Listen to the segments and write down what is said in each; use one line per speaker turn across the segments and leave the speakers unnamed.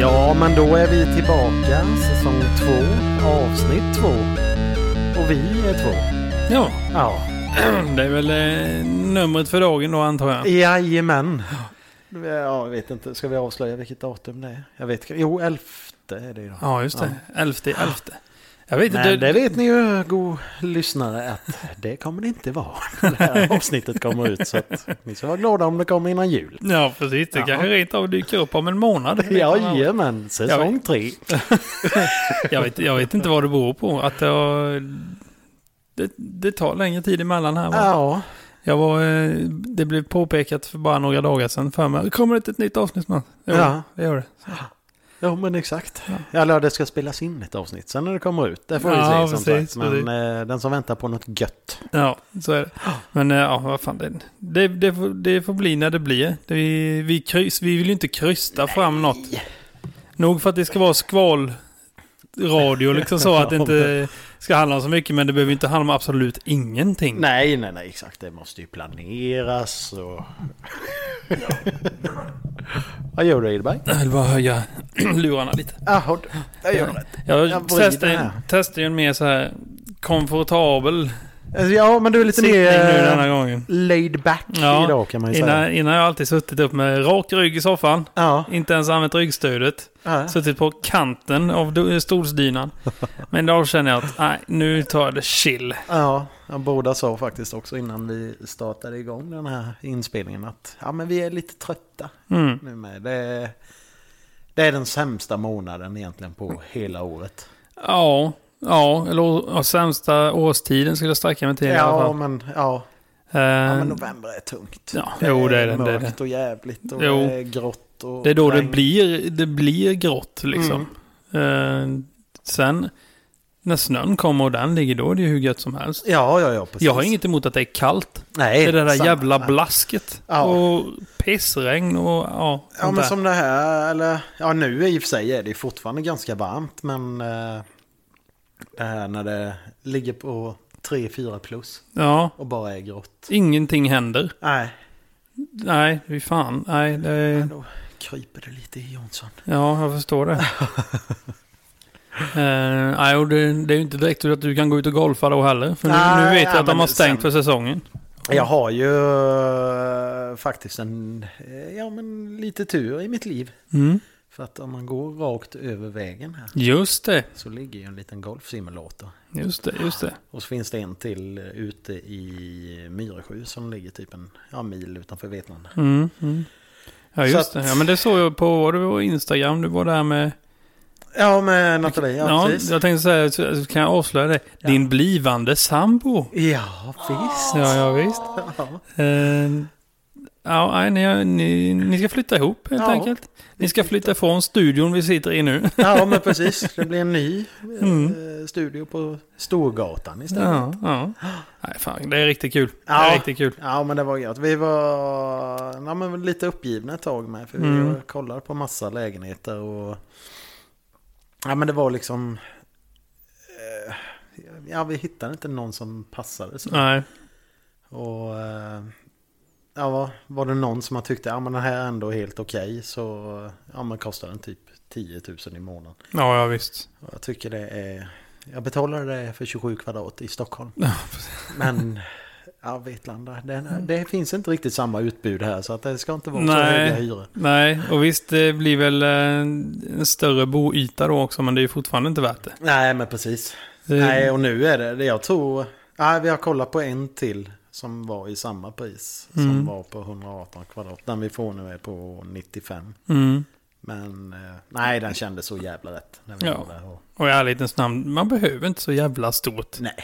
Då är vi tillbaka, säsong två, avsnitt två. Och vi är två.
Ja,
Ja,
det är väl eh, numret för dagen då antar jag.
jajamän. Ja, jag vet inte, ska vi avslöja vilket datum det är? Jag vet inte. Jo, elfte är det ju. då.
Ja, just det. Elfte i elfte. Jag vet inte.
Men det
Det,
vet ni ju, god lyssnare, att det kommer det inte vara när det här avsnittet kommer ut. Så att ni ska vara glada om det kommer innan jul.
ja, precis. Det
Ja.
kanske rent av dyker upp om en månad.
Jajamän,
Jag
säsong tre.
jag, vet, jag vet inte vad det beror på. Att det, har, det, det tar längre tid emellan här. Va?
Ja,
Jag var, eh, det blev påpekat för bara några dagar sedan för mig. Kommer det inte ett nytt avsnitt snart? Jo,
Ja.
det gör det.
ja men exakt. Eller det ska spelas in ett avsnitt sen när det kommer ut. Det får vi
Ja,
se som
precis,
sagt. Men eh, den som väntar på något gött.
Ja, så är det. Men eh, ja, vad fan. Det, det, det, får, det får bli när det blir. Det, vi, vi, kryss, vi vill ju inte krysta fram något. Nog för att det ska vara skvalradio liksom så. Att det inte ska handla om så mycket. Men det behöver inte handla om absolut ingenting.
Nej, nej, nej, exakt. Det måste ju planeras och... Vad gör du Edberg?
Jag vill bara höja lurarna lite.
Jaha, Ah, jag gör det. Jag
Jag
vrider
testade,
här.
testade ju en mer så här komfortabel
Alltså, Ja, men du är lite
sittning nu denna
mer eh,
gången.
laid back
Ja,
idag kan man ju säga.
Innan, innan har jag alltid suttit upp med rak rygg i soffan.
Ja,
Inte ens använt ryggstödet.
ja.
Suttit på kanten av do- stolsdynan. Men då känner jag att nej, nu tar jag det chill.
Ja, ja, båda sa faktiskt också innan vi startade igång den här inspelningen att ja, men vi är lite trötta
Mm.
nu med. Det är, det är den sämsta månaden egentligen på hela året.
Ja, ja, eller å- ja, sämsta årstiden skulle jag sträcka mig till i alla
Ja,
fall.
men, ja,
Eh,
ja, men november är tungt.
ja, jo, det är det. Det är, det.
mörkt och jävligt och
Jo.
det är grått. Och
det är då det
regn. Mm.
blir, det blir grått liksom. Eh, sen när snön kommer och den ligger då är det ju hur gött som helst.
Ja, ja, ja, precis.
Jag har inget emot att det är kallt.
Nej,
Det är det där
sant.
jävla blasket.
Ja.
Och pissregn och ja.
Ja,
sånt
men
där.
som det här, eller ja, nu i och för sig är det ju fortfarande ganska varmt, men eh, det här när det ligger på 3-4 plus
ja,
och bara är grått.
ingenting händer.
Nej,
Nej, fy fan. Nej, det,
då kryper det lite i Jonsson.
ja, jag förstår det. Eh, nej, och det, det är ju inte direkt att du kan gå ut och golfa då heller. För nu,
Nej,
nu vet jag
ja,
att de
men
har stängt
sen-
för säsongen.
Jag har ju eh, faktiskt en, eh, ja men lite tur i mitt liv.
Mm.
För att om man går rakt över vägen här
Just det,
så ligger ju en liten golfsimulator.
just det, just det.
Och så finns det en till eh, ute i Myresjö som ligger typ en ja, mil utanför Vetlanda.
Mm, mm. Ja,
Så
just det.
att-
Ja, men det såg jag på var det på Instagram. Du var där med...
Ja, med Nathalie. Ja,
Ja,
precis.
jag tänkte säga, så- så kan jag avslöja det? Din blivande sambo.
Ja, visst.
Ja, ja visst.
Ja.
Eh, ja, nej, ni, ni, ni ska flytta ihop helt
Ja,
enkelt. Ni ska flytta från studion vi sitter i nu.
ja, men precis. Det blir en ny eh,
Mm.
studio på Storgatan istället. Ja.
Ja, ja. Nej, fan, det är riktigt kul. Det
Ja.
är riktigt kul.
men det var gött. Vi var ja, men lite uppgivna ett tag med. För vi
Mm.
kollade på massa lägenheter och... Ja, men det var liksom... eh, Ja, vi hittade inte någon som passade. Så.
Nej,
Och eh, ja, var det någon som man tyckte ja, men den här är ändå helt okej så ja, men kostar den typ 10 000 i månaden.
ja, ja visst.
Och jag tycker det är... Jag betalade det för 27 kvadrat i Stockholm.
Ja,
Men ja, Vetlanda, det, det finns inte riktigt samma utbud här så att det ska inte vara så
Nej.
höga hyror.
Nej, och visst det blir väl eh, en större boyta då också, men det är ju fortfarande inte värt det.
Nej, men precis.
Det-
Nej, och nu är det, det jag tror... Nej, vi har kollat på en till som var i samma pris. Som
Mm.
var på 118 kvadrat. Den vi får nu är på 95.
Mm.
Men eh, nej, den kändes så jävla rätt. När vi
Ja.
var där och...
Och i ärlighetens namn, man behöver inte så jävla stort.
Nej.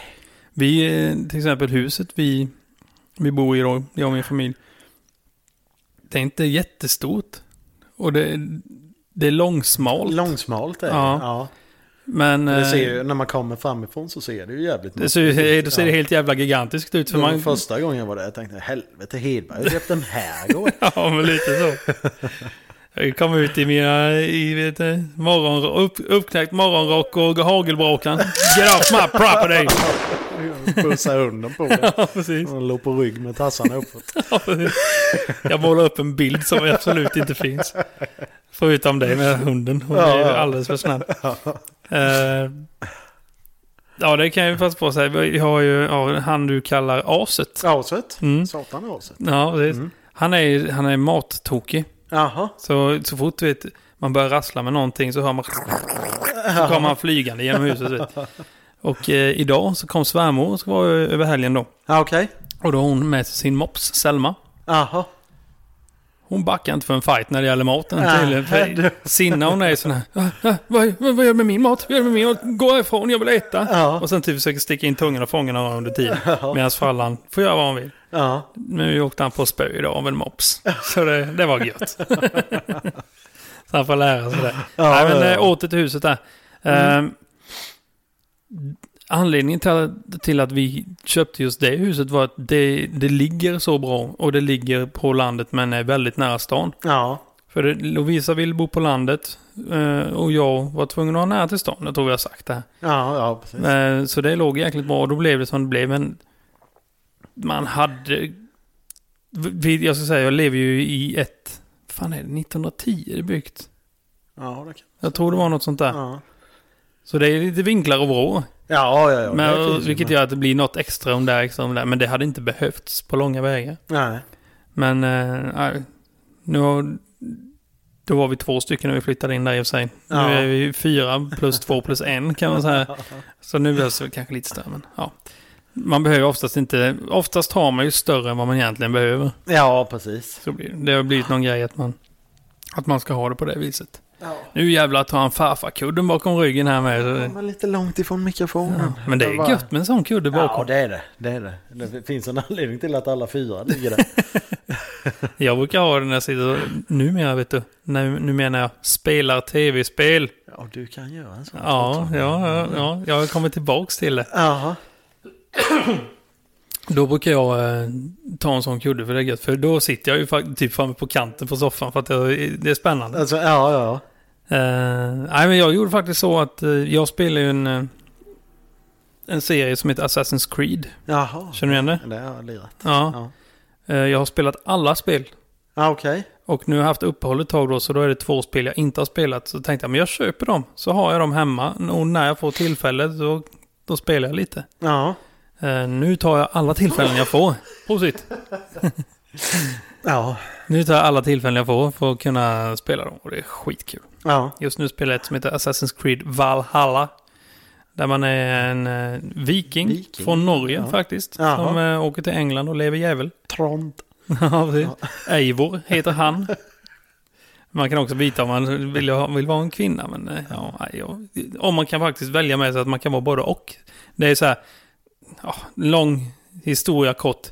Vi, eh, till exempel huset vi, vi bor i då, jag och min familj. Det är inte jättestort. Och det, det är långsmalt.
Långsmalt är det.
Ja.
Ja.
men
Det
eh,
ser ju, när man kommer framifrån så ser det ju jävligt
det ser, då ser det
Ja.
helt jävla gigantiskt ut. För
Det var
man,
Första gången jag var där jag tänkte helvete Hedberg har köpt den här gården.
ja, men lite så. Jag kom ut i mina i, vet du, morgon, upp, uppknäckt morgonrock och hagelbrakan. Get off my property!
Pussar hunden på den.
Ja, precis.
Och låg på rygg med tassarna uppåt.
Jag målar upp en bild som absolut inte finns. Förutom dig med hunden. Hon
Ja,
är ju
ja.
alldeles för snabb. Eh, ja, det kan jag ju passa på att säga. Vi har ju ja, han du kallar aset.
Aset.
Mm.
Satan aset.
Ja, precis.
Mm.
Han är ju han är mattokig.
Jaha.
Så, så fort du vet, man börjar rassla med någonting så hör man... Så kommer han flygande genom huset. du Vet. Och eh, idag så kom svärmor och så var jag över helgen då.
Ja, okej.
Och då har hon med sig sin mops, Selma.
Jaha.
Hon backar inte för en fight när det gäller maten
Nej,
tydligen.
du.
För Sinna hon är ju sån här. "Ah, ah, Vad, vad, vad gör du med min mat? Vad gör du med min mat? Gå härifrån, jag vill äta.
Ja.
Och sen typ försöker sticka in tungan och fånga några under tiden. Medan farlan får göra vad han vill.
Ja.
Nu åkte han på spö idag av en mops. Så det, det var gött. så han får lära sig det.
Ja,
Nej, men
ja, Mm. ja.
eh, åter till huset där. Ehm, anledningen till att, till att vi köpte just det huset var att det, det ligger så bra och det ligger på landet men är väldigt nära stan.
Ja.
För det, Lovisa vill bo på landet eh, och jag var tvungen att ha nära till stan. Jag tror jag har sagt det här.
Ja, ja, precis.
Eh, Så det låg jäkligt bra och då blev det som det blev. Men man hade... vi- Jag ska säga, jag lever ju i ett... fan är det? 1910 är det byggt.
Ja, det kan.
Jag tror det var något sånt där.
Ja.
Så det är lite vinklar och vrår.
Ja, ja, ja. det
men,
finns ju,
vilket
men-
gör att det blir något extra om där, extra om där. Men det hade inte behövts på långa vägar.
Nej.
Men eh, nej, nu har, då var vi två stycken när vi flyttade in där i och för sig.
Ja.
Nu är vi fyra plus två plus en kan man säga. Så nu behövs det väl kanske lite större. Men, ja. Man behöver oftast inte, oftast har man ju större än vad man egentligen behöver.
Ja, precis.
Så blir det. det har blivit någon grej att man, att man ska ha det på det viset.
Ja.
Nu jävlar tar han farfarkudden bakom ryggen här med. Så det-
Men lite långt ifrån mikrofonen.
Ja, men det
Jag
är
bara-
gött med en sån kudde
Ja,
bakom.
det är det. Det, är det. det finns en anledning till att alla fyra ligger där.
Jag brukar ha den när jag sitter och, numera vet du, nu, nu menar jag spelar tv-spel.
Ja, du kan göra en sån.
Ja, ja, ja, ja, jag har kommit tillbaks till det.
Jaha.
Då brukar jag eh, ta en sån kudde för det är gött. För då sitter jag ju fa- typ framme på kanten på soffan för att det, det är spännande.
Alltså, ja, ja.
Eh, nej, men jag gjorde faktiskt så att eh, jag spelar ju en, eh, en serie som heter Assassin's Creed.
Jaha.
Känner du igen det?
Det har jag lirat.
Ja.
Ja.
Eh, jag har spelat alla spel.
Ja, okej.
Och nu har jag haft uppehåll ett tag då, så då är det två spel jag inte har spelat. Så tänkte jag, men jag köper dem. Så har jag dem hemma. Och när jag får tillfälle, då, då spelar jag lite.
Ja.
Eh, nu tar jag alla tillfällen jag får. Prosit!
Ja.
Nu tar jag alla tillfällen jag får för att kunna spela dem. Och det är skitkul.
Ja.
Just nu spelar jag ett som heter Assassin's Creed Valhalla. Där man är en eh, viking,
Viking,
från Norge
ja.
faktiskt.
Jaha.
Som eh, åker till England och lever jävel.
Trond.
Ja, precis. Eivor heter han. Man kan också byta om man vill, ha- vill vara en kvinna. Men eh, ja, nej, jag- om man kan faktiskt välja med sig att man kan vara både och. Det är så här, ja, lång historia kort.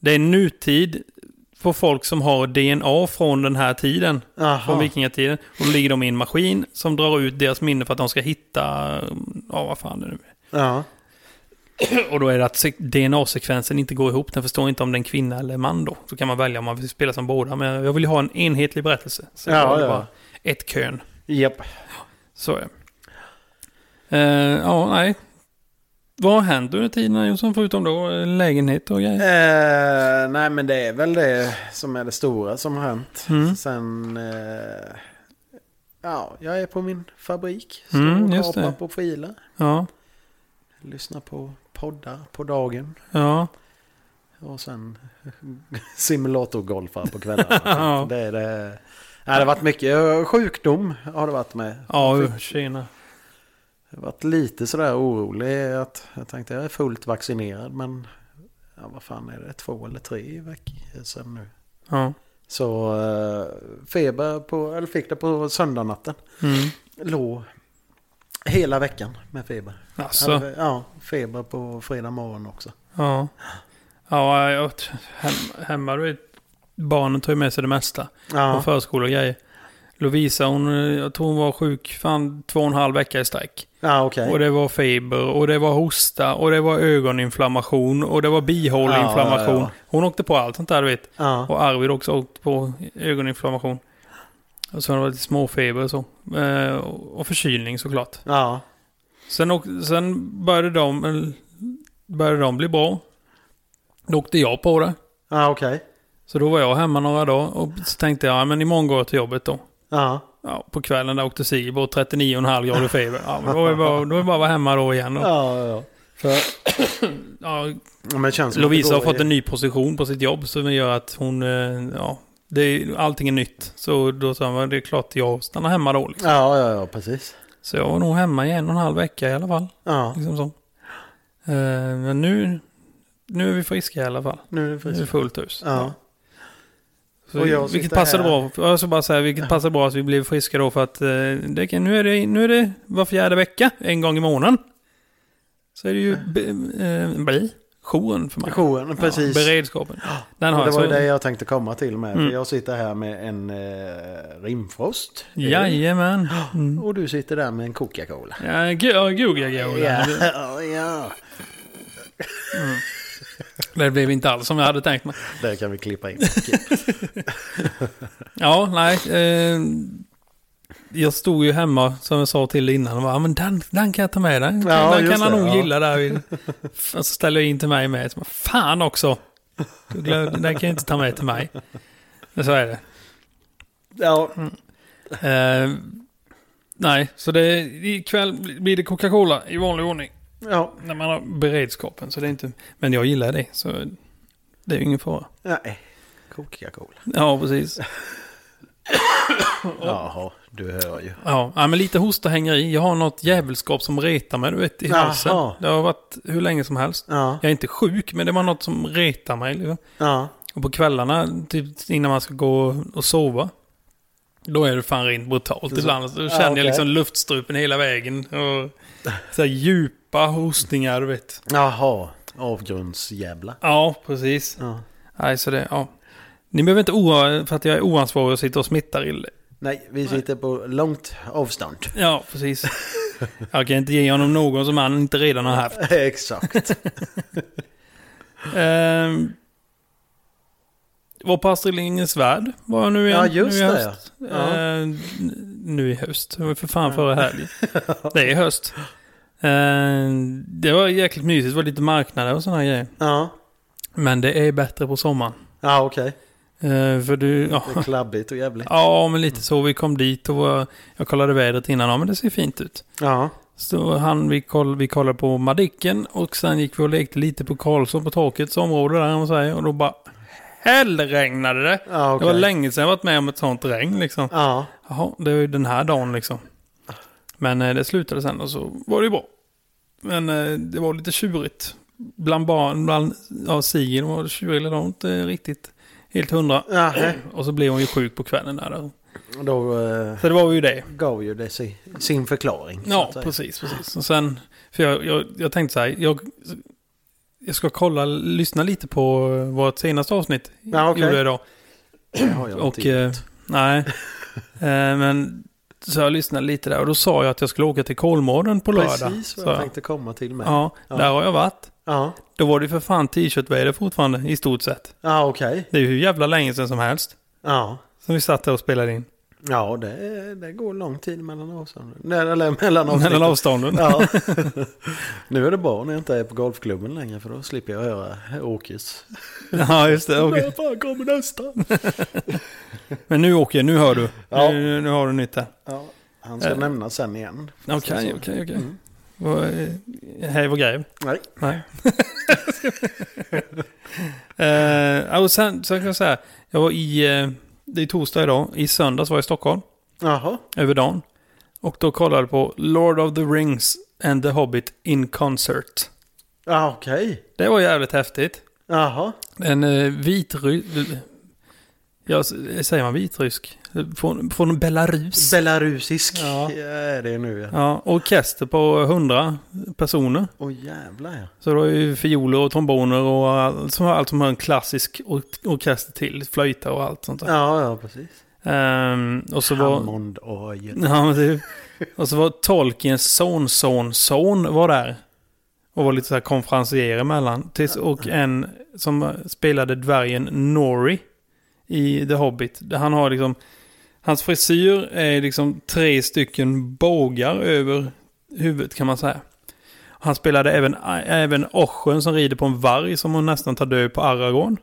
Det är nutid på folk som har DNA från den här tiden. Från
Jaha.
vikingatiden. Och då ligger de i en maskin som drar ut deras minne för att de ska hitta, ja vad fan det nu är.
Ja.
Och då är det att se- DNA-sekvensen inte går ihop. Den förstår inte om det är en kvinna eller en man då. Så kan man välja om man vill spela som båda. Men jag vill ju ha en enhetlig berättelse. Så
Ja,
jag vill
ja.
bara ett kön.
Japp.
Så är det. Eh, Ja, nej. Vad har hänt under tiden Jonsson? Förutom då eh, lägenhet och grejer.
Eh, nej men det är väl det som är det stora som har hänt.
Mm.
Sen... Eh, ja, jag är på min fabrik. Står
Mm,
och
just
kapar
det.
på filer.
Ja,
Lyssnar på poddar på dagen.
ja.
Och sen simulatorgolfar på kvällarna.
Ja.
det är det. Nej, det har varit mycket eh, sjukdom har det varit med.
Ja,
Jag
ur Kina.
Jag har varit lite sådär orolig att jag tänkte jag är fullt vaccinerad men ja, vad fan är det, två eller tre veckor sedan nu.
Ja.
Så eh, feber på, eller fick det på söndagnatten.
Mm.
Låg hela veckan med feber.
Alltså.
Hade- Ja, feber på fredag morgon också.
Ja. Ja, jag, hemma, hemma du vet, barnen tar ju med sig det mesta. På
Ja,
förskola och grejer. Lovisa, hon, eh, jag tror hon var sjuk fan två och en halv vecka i sträck.
ja okej.
Och det var feber, och det var hosta, och det var ögoninflammation, och det var bihåleinflammation.
Ja, ja, ja.
Hon åkte på allt sånt där, du vet.
Ja,
Och Arvid också åkt på ögoninflammation. Och så har det varit lite småfeber och så. Eh, och och förkylning såklart.
ja,
Sen, åk, sen började, de, eller, började de bli bra. Då åkte jag på det.
ja okej.
Så då var jag hemma några dagar och så tänkte jag, ja, men imorgon går jag till jobbet då.
Ja,
Ja, på kvällen där åkte Sigbo 39,5 grader feber. Ja, men då är det bara, då är det bara att vara hemma då igen. Och,
Ja, ja, ja.
för, ja,
Ja, Men Alltså, det känns som att det
Lovisa har
går
fått en ny position på sitt jobb som gör att hon, eh, ja, det är, allting är nytt. Så då sa han, det är klart jag stannar hemma då. Liksom.
Ja, ja, ja, precis.
Så jag var nog hemma i en och en halv vecka i alla fall.
Ja,
Liksom så. Eh, men nu, nu är vi friska i alla fall.
nu är det
Nu är det
frisk.
fullt hus.
Ja,
Så,
Och jag
vilket
sitter
passade
här.
bra. Jag ska bara säga, vilket passade bra att vi blev friska då för att eh, det, kan- nu, är det, nu är det var fjärde vecka, en gång i månaden. Så är det ju be, eh, bli, jouren för mig.
jouren, precis.
Ja, beredskapen. Den
Och
har
det
jag.
var ju
Så,
det jag tänkte komma till med.
Mm.
För jag sitter här med en eh, rimfrost.
Jajamän. Mm.
Och du sitter där med en Coca-Cola.
Ja, go- ja, googla
Ja,
googla.
ja.
Det blev inte alls som jag hade tänkt mig.
Det kan vi klippa in.
Ja, nej. Eh, jag stod ju hemma, som jag sa till innan, och bara, "Ja, men den, den kan jag ta med. Den,
Ja,
den kan
just
han
det,
nog
ja.
gilla där. vid." Och så ställer jag in till mig med. Så bara, Fan också! Du glömde- Den kan jag inte ta med till mig. Men så är det.
Ja,
Eh, nej, så det, ikväll blir det Coca-Cola i vanlig ordning.
ja,
När man har beredskapen. Så det är inte, men jag gillar det, så det är ju ingen fara.
nej. Coca-Cola.
Ja, precis.
Jaha, du hör ju.
Ja, ja, men lite hosta hänger i. Jag har något jävelskap som retar mig, du vet, i
Jaha.
halsen. Det alltså- har varit hur länge som helst.
Ja,
Jag är inte sjuk, men det var något som retar mig. Liksom.
ja.
Och på kvällarna, typ innan man ska gå och sova, då är det fan rent brutalt ibland. Då känner
okej.
jag liksom luftstrupen hela vägen. Och så här djupa hostningar, du vet.
Jaha, avgrundsjävla.
Ja, precis.
Ja.
Nej, så det, ja. Ni behöver inte oroa er för att jag är oansvarig och sitter och smittar illa.
Nej, vi sitter på långt avstånd.
Ja, precis. Jag kan inte ge honom någon som han inte redan har haft.
Exakt.
Ehm, var på Astrid Lindgrens Värld var jag nu igen.
Ja, just
nu i
det,
höst.
ja.
Ehm, n- nu i höst. Det var för fan förra helgen. Det är höst. Ehm, det var jäkligt mysigt. Det var lite marknader och sådana grejer.
Ja,
Men det är bättre på sommaren.
ja okej.
Ehm, för du... Ja.
Det är klabbigt och jävligt.
ja, men lite så. Vi kom dit och var- jag kollade vädret innan. Ja, men det ser fint ut.
Ja,
Så han, vi, koll, vi kollade på Madicken och sen gick vi och lekte lite på Karlsson på takets område där, om man säger. Och då bara hellregnade det.
ja
Det var
okej.
länge sedan jag varit med om ett sånt regn liksom.
Ja,
Jaha, det var ju den här dagen liksom. Men eh, det slutade sen och så var det ju bra. Men eh, det var lite tjurigt. Bland barn, bland ja, Sigrid var det tjurigt, det var inte riktigt helt hundra.
ja eh.
Och så blev hon ju sjuk på kvällen där.
då eh,
Så det var ju det.
gav ju det si, sin förklaring. så
Ja,
att säga.
precis, precis. Och sen, för jag, jag, jag tänkte så här, jag, jag ska kolla, lyssna lite på eh, vårt senaste avsnitt.
Ja, okej.
Gjorde jag idag.
Det har jag
Och,
inte gjort.
eh, nej. Eh, men så jag lyssnade lite där och då sa jag att jag skulle åka till Kolmården på lördag.
Precis vad
sa
jag tänkte komma till med. Ja,
Ja,
Ja.
där har jag varit.
ja,
Då var det för fan t-shirtväder fortfarande, i stort sett.
okej.
Det är ju hur jävla länge sedan som helst.
Ja.
Som vi satt där och spelade in.
Ja, det, det går lång tid mellan avstånden. Nej, Eller mellan
Mellan
avsnitten.
avstånden.
Ja. nu är det bra när jag inte är på golfklubben längre för då slipper jag höra Åkes.
Ja, just det. okej.
När fan kommer nästa?
Men nu åker jag, nu hör du.
Ja.
Nu, nu har du nytt här.
Ja, han ska
Eh.
nämnas sen igen.
Okej,
Så-
okej, okej.
Mm.
Och, eh, Hej och grev.
Nej.
Nej. Eh, ja, och sen så kan jag säga, jag var i, eh, det är torsdag idag, i söndags var jag i Stockholm,
Jaha.
över dagen. Och då kollade jag på Lord of the Rings and the Hobbit in concert.
Ja, okej.
Det var jävligt häftigt.
Jaha.
En eh, vitrysk... Ja, s- säger man vitrysk? Från, från Belarus.
Belarusisk
Ja.
ja. är det nu. ja.
ja, orkester på 100 personer.
Åh jävlar ja.
Så det var ju fioler och tromboner och allt som, allt som hör en klassisk or- orkester till. Flöjta och allt sånt där.
Ja, ja precis.
Ehm, och så var...
Hammondorgel.
Ja, men typ. Och så var Tolkiens son, son, son var där. Och var lite så här konferencier emellan. Tills, och en som spelade dvärgen Nori i The Hobbit. Där Han har liksom... Hans frisyr är liksom tre stycken bågar över huvudet kan man säga. Han spelade även, även Ochen som rider på en varg som hon nästan tar död på Aragorn.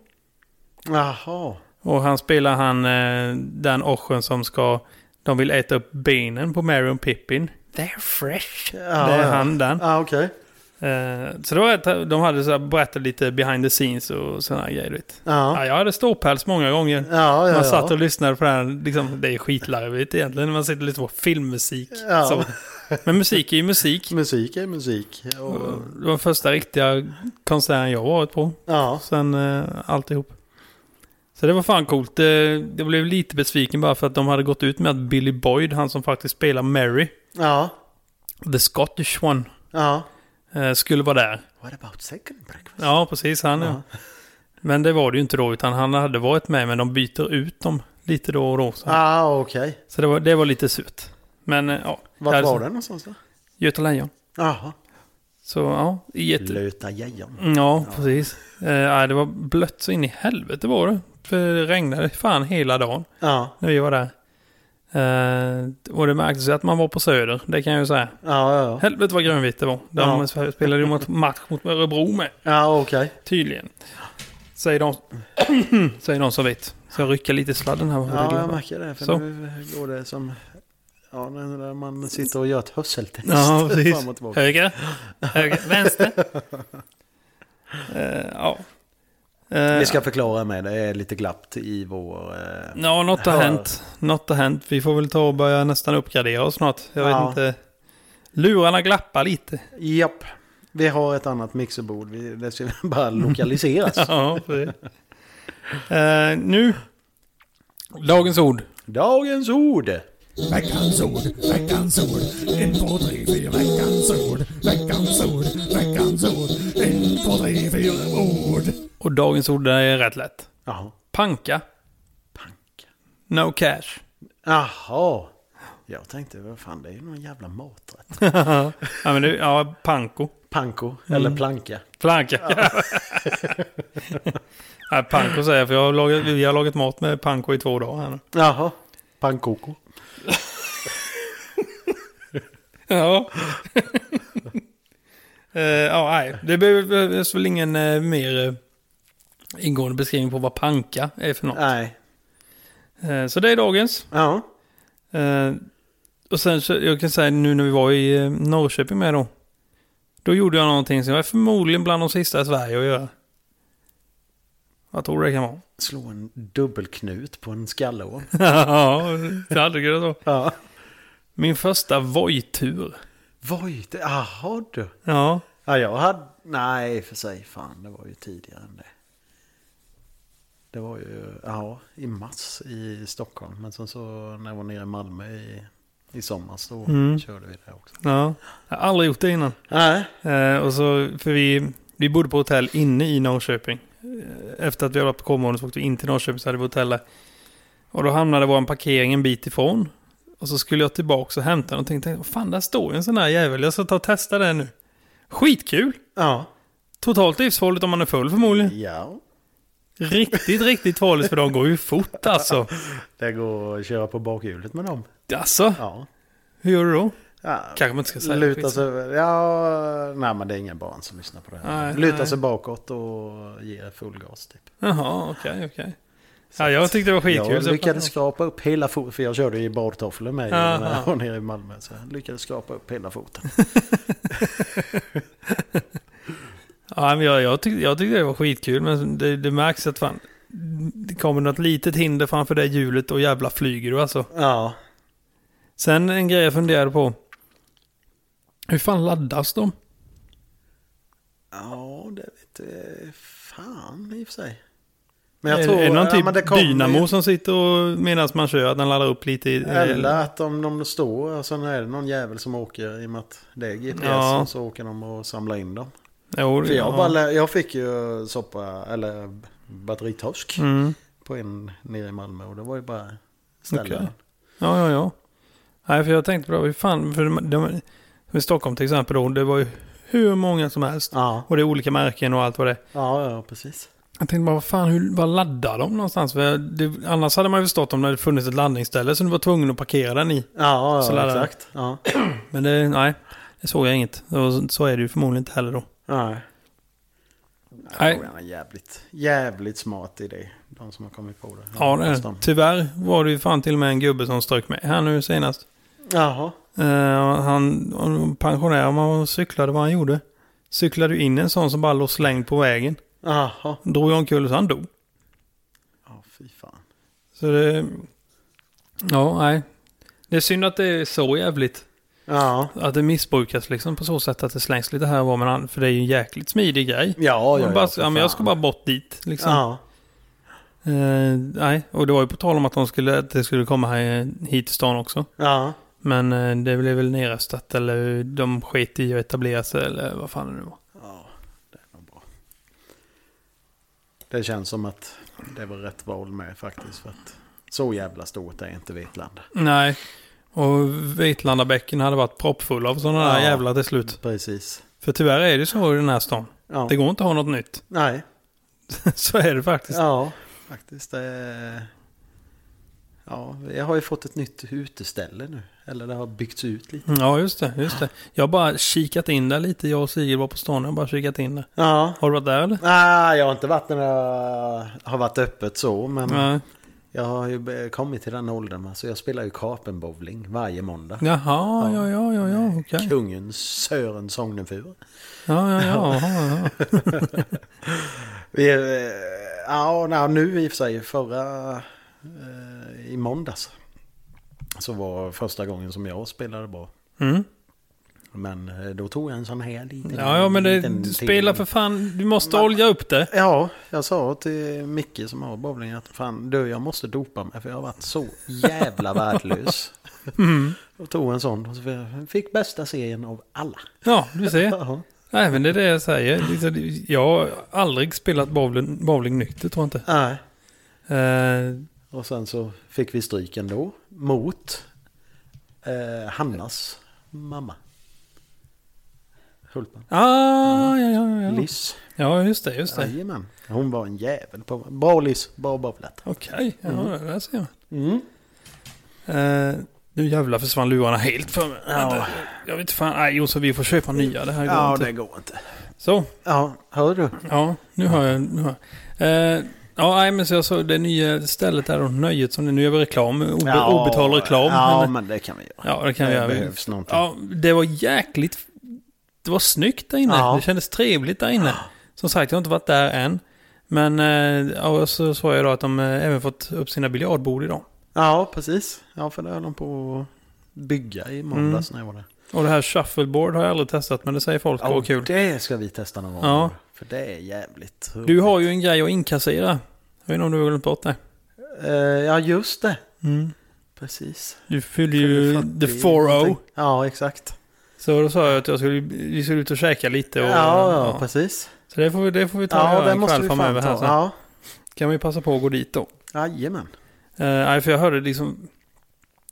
Jaha.
Och han spelar han eh, den Ochen som ska De vill äta upp benen på Mary och Pippin. They're fresh.
Ja,
det är
ja.
han den.
Ja, okej.
Eh, så då var det, de hade så här, berättat lite behind the scenes och sådana här grejer. du Vet.
Ja.
Ja, jag hade ståpäls många gånger.
Ja, ja,
Man satt
ja.
och lyssnade på det här. Liksom, det är skitlarvigt egentligen. Man sitter lite på filmmusik.
Ja.
Så. Men musik är ju musik.
Musik är musik. Och,
Det var den första riktiga konserten jag varit på.
ja.
Sen eh, alltihop. Så det var fan coolt. Eh, jag blev lite besviken bara för att de hade gått ut med att Billy Boyd, han som faktiskt spelar Mary,
Ja.
the Scottish one,
Ja.
eh, skulle vara där.
What about second breakfast?
Ja, precis han ja. Men det var det ju inte då, utan han hade varit med, men de byter ut dem lite då och då. Så,
Ja, Ah, okej.
så det, var, det var lite surt. Men eh, ja.
Vart
Jag hade-
var den någonstans då?
Göta Lejon.
Jaha.
Så ja, jätte...
Löta Lejon.
Ja, precis. Eh, nej, det var blött så in i helvete var det. För det regnade fan hela dagen
Ja.
när vi var där. Eh, och det märktes ju att man var på Söder, det kan jag ju säga.
Ja, ja, ja.
Helvete vad grönvitt det var. De spelade ju mot match mot Örebro med,
Ja, okej.
tydligen. Säger de, säger de som vet. Så jag rycker lite i sladden här.
Ja, jag märker det. För
Så.
nu går det som... Ja, när man sitter och gör ett hörseltest.
Ja, precis.
Fram och tillbaka.
Höger, höger, vänster. Eh, ja. Eh,
Vi ska förklara med det är lite glapp i vår... eh,
Ja, något har
Hör.
hänt. Något har hänt. Vi får väl ta och börja nästan uppgradera oss snart. Jag vet
Ja.
inte. Lurarna glappar lite.
Japp. Vi har ett annat mixerbord. Vi- Det ska bara lokaliseras.
Ja, för det. Eh, nu. Dagens ord.
Dagens ord.
Veckans ord, veckans ord, en, två, tre, fyra, veckans ord, veckans ord, veckans ord, en, två, tre, fyra, ord.
Och dagens ord det är rätt lätt.
Jaha.
Panka.
Panka.
No cash.
Jaha. Jag tänkte, vad fan det är ju någon jävla maträtt. Mm.
ja, men det, ja, panko.
Panko eller planka.
Planka. Nej, panko säger jag, för jag har lagat, vi har lagat mat med panko i två dagar här nu.
Jaha. Pankoko.
Ja. Eh, Ja, nej. Det behövs väl ingen eh, mer eh, ingående beskrivning på vad panka är för något.
Nej.
Eh, så det är dagens.
Ja.
Eh, och sen så, jag kan säga nu när vi var i eh, Norrköping med då. Då gjorde jag någonting som jag är förmodligen bland de sista i Sverige att göra. Vad tror du det kan vara?
Slå en dubbelknut på en skallån.
ja, det hade kunnat vara.
Ja.
Min första Voi-tur.
Voj, det- jaha du.
Ja.
Ja, jag hade... Nej, för sig. Fan, det var ju tidigare än det. Det var ju, ja, i mars i Stockholm. Men sen så när jag var nere i Malmö i, i somras så körde vi det också.
ja. Jag har aldrig gjort det innan.
Mm. Nej.
Eh, och så, för vi, vi bodde på hotell inne i Norrköping. Eh, Efter att vi hade varit på Kolmården så åkte vi in till Norrköping så hade vi hotell där. Och då hamnade vår parkering en bit ifrån. Och så skulle jag tillbaka och hämta någonting. Tänkte, "Vad fan där står ju en sån här jävel. Jag ska ta och testa den nu. Skitkul!
Ja.
Totalt livsfarligt om man är full förmodligen.
Ja.
Riktigt, riktigt farligt för de går ju fort alltså.
Det går att köra på bakhjulet med dem.
Alltså,
Ja.
hur gör du då?
ja.
Kanske man inte ska säga.
Luta sig över. Ja, nej men det är inga barn som lyssnar på det här.
Nej,
Luta
nej.
sig bakåt och ge full gas typ.
Jaha, okej, okej. Ja, jag tyckte det var skitkul.
Jag
så-
lyckades skrapa upp hela foten, för jag körde i badtofflor med
Aha.
när jag var nere i Malmö. Så jag lyckades skrapa upp hela foten.
Ja, men jag, jag, tyckte, jag tyckte det var skitkul, men det, det märks att fan, det kommer något litet hinder framför det hjulet och jävla flyger du alltså.
Ja,
Sen en grej jag funderade på. Hur fan laddas de?
ja det vet jag. fan i och för sig. Men jag
är,
tror...
är det någon typ
men det kommer ju-
dynamo som sitter och medan man kör att den laddar upp lite? I,
Eller att om de står, och sen är det någon jävel som åker i och med att det är GPS
Ja.
och så åker de och samlar in dem.
Jo,
För jag,
ja.
bara, lä- jag fick ju soppa, eller batteritorsk
Mm.
på en nere i Malmö och det var ju bara ställa
Okej.
den.
Ja, ja, ja. Nej, för jag tänkte på det. Hur fan, för de, de, i Stockholm till exempel då, det var ju hur många som helst.
Ja,
Och det är olika märken och allt vad det är.
ja, ja, precis.
Jag tänkte bara, vad fan, hur, vad laddar de någonstans? För det, annars hade man ju förstått om det hade funnits ett laddningsställe som du var tvungen att parkera den i.
Ja,
Så
ja
laddar den.
exakt. Ja.
Men det, nej, det såg jag inget. Och så, så är det ju förmodligen inte heller då.
Nej. Jag
Nej.
tror han är jävligt, jävligt smart i det. De som har kommit på det.
Ja, det är det.
Nästan.
Tyvärr var det ju fan till och med en gubbe som strök med här nu senast.
Jaha.
Eh, han han pensionerade, man cyklade vad han gjorde. Cyklade ju in en sån som bara låg slängd på vägen.
Jaha.
Drog jag omkull så han dog.
Ja, fy fan.
Så det... Ja, nej. Det är synd att det är så jävligt.
Ja.
Att det missbrukas liksom på så sätt att det slängs lite här och var. Men han- för det är ju en jäkligt smidig grej.
Ja, ja,
Man bara,
för
ja, men jag
fan.
ska bara bort dit liksom.
Ja.
Eh, nej, och det var ju på tal om att, de skulle, att det skulle komma här, eh, hit till stan också.
Ja.
Men eh, det blev väl nerröstat eller de sket i att etablera sig eller vad fan det nu var.
Ja, det är nog bra. Det känns som att det var rätt val med faktiskt. För att så jävla stort är inte Vetlanda.
Nej, och Vetlandabäcken hade varit proppfull av sådana där
Ja.
jävlar till slut.
Precis.
För tyvärr är det så i den här stan.
Ja.
Det går inte att ha något nytt.
Nej.
så är det faktiskt.
Ja, faktiskt. Det... är- Ja, jag har ju fått ett nytt uteställe nu. Eller det har byggts ut lite.
Mm, Ja, just det. Just det. Jag har bara kikat in där lite. Jag och Sigrid var på stan. Jag har bara kikat in där.
Ja.
Har du varit där eller?
Nej, jag har inte varit när det har varit öppet så. Men
Nej.
jag har ju be- kommit till den åldern. va, Så jag spelar ju karpenbowling varje måndag.
Jaha, ja, ja, ja, ja, okej.
Kungen Sören Sognefur.
Ja, ja, ja, ja, ja.
Vi, eh, ja, nej, nu i och för sig förra... eh, I måndags. Så var första gången som jag spelade bra.
Mm.
Men eh, då tog jag en sån här liten...
Ja, ja, men det,
liten
du
till.
spelar för fan. Du måste olja upp det.
Ja, jag sa till Micke som har bowling att fan du, jag måste dopa mig för jag har varit så jävla värdelös.
Mm.
Och tog en sån och så fick bästa serien av alla.
Ja, du ser.
Jaha.
Nej, men det är det jag säger. Liksom, det- Jag har aldrig spelat bowling, bowling nykter, tror jag inte.
Nej.
Eh,
Och sen så fick vi stryk ändå mot eh, Hannas mamma. Hultman.
ah, ja, ja, ja.
Liss.
Ja, just det, just det.
Jajamän. Hon var en jävel på... Bra Liss, bra bowlat.
Okej, ja, det där ser man.
Mm.
Eh, nu jävlar försvann lurarna helt för mig. eh,
Ja.
Jag vet inte fan. Nej, Josef, vi får köpa nya. Det här går
Ja,
inte.
det går inte.
Så,
Ja, hör du?
ja, nu hör jag. Nu hör jag. Eh, ja, nej, men så jag såg det nya stället där och nöjet som det nu gör vi reklam. Obe,
Ja,
obetald reklam.
Ja,
men, eh,
men det kan vi göra.
ja det kan vi
det
göra.
behövs någonting.
Ja, det var jäkligt... Det var snyggt där inne.
Ja.
Det kändes trevligt där inne. Som sagt, jag har inte varit där än. Men eh, ja, och så såg jag då att de eh, även fått upp sina biljardbord idag.
Ja, precis. Ja, för det höll de på att bygga i måndags när jag var där.
Och det här shuffleboard har jag aldrig testat, men Mm. det säger folk går kul.
det ska vi testa någon gång.
Ja.
För det är jävligt roligt.
Du har ju en grej att inkassera. Jag vet inte om du har glömt bort det.
Eh, ja, just det. Precis.
Mm. Du fyller
Fyller
ju
40
the 4-0.
någonting. Ja, exakt.
Så då sa jag att jag skulle, vi skulle ut och käka lite.
Ja,
Och,
ja, precis.
Så det får vi, det får vi ta och
Ja,
göra
det
en
måste
kväll
vi fan
framöver
ta.
här sen.
Ja,
Kan vi passa på att gå dit då.
jajamän.
Eh, Nej, för jag hörde liksom...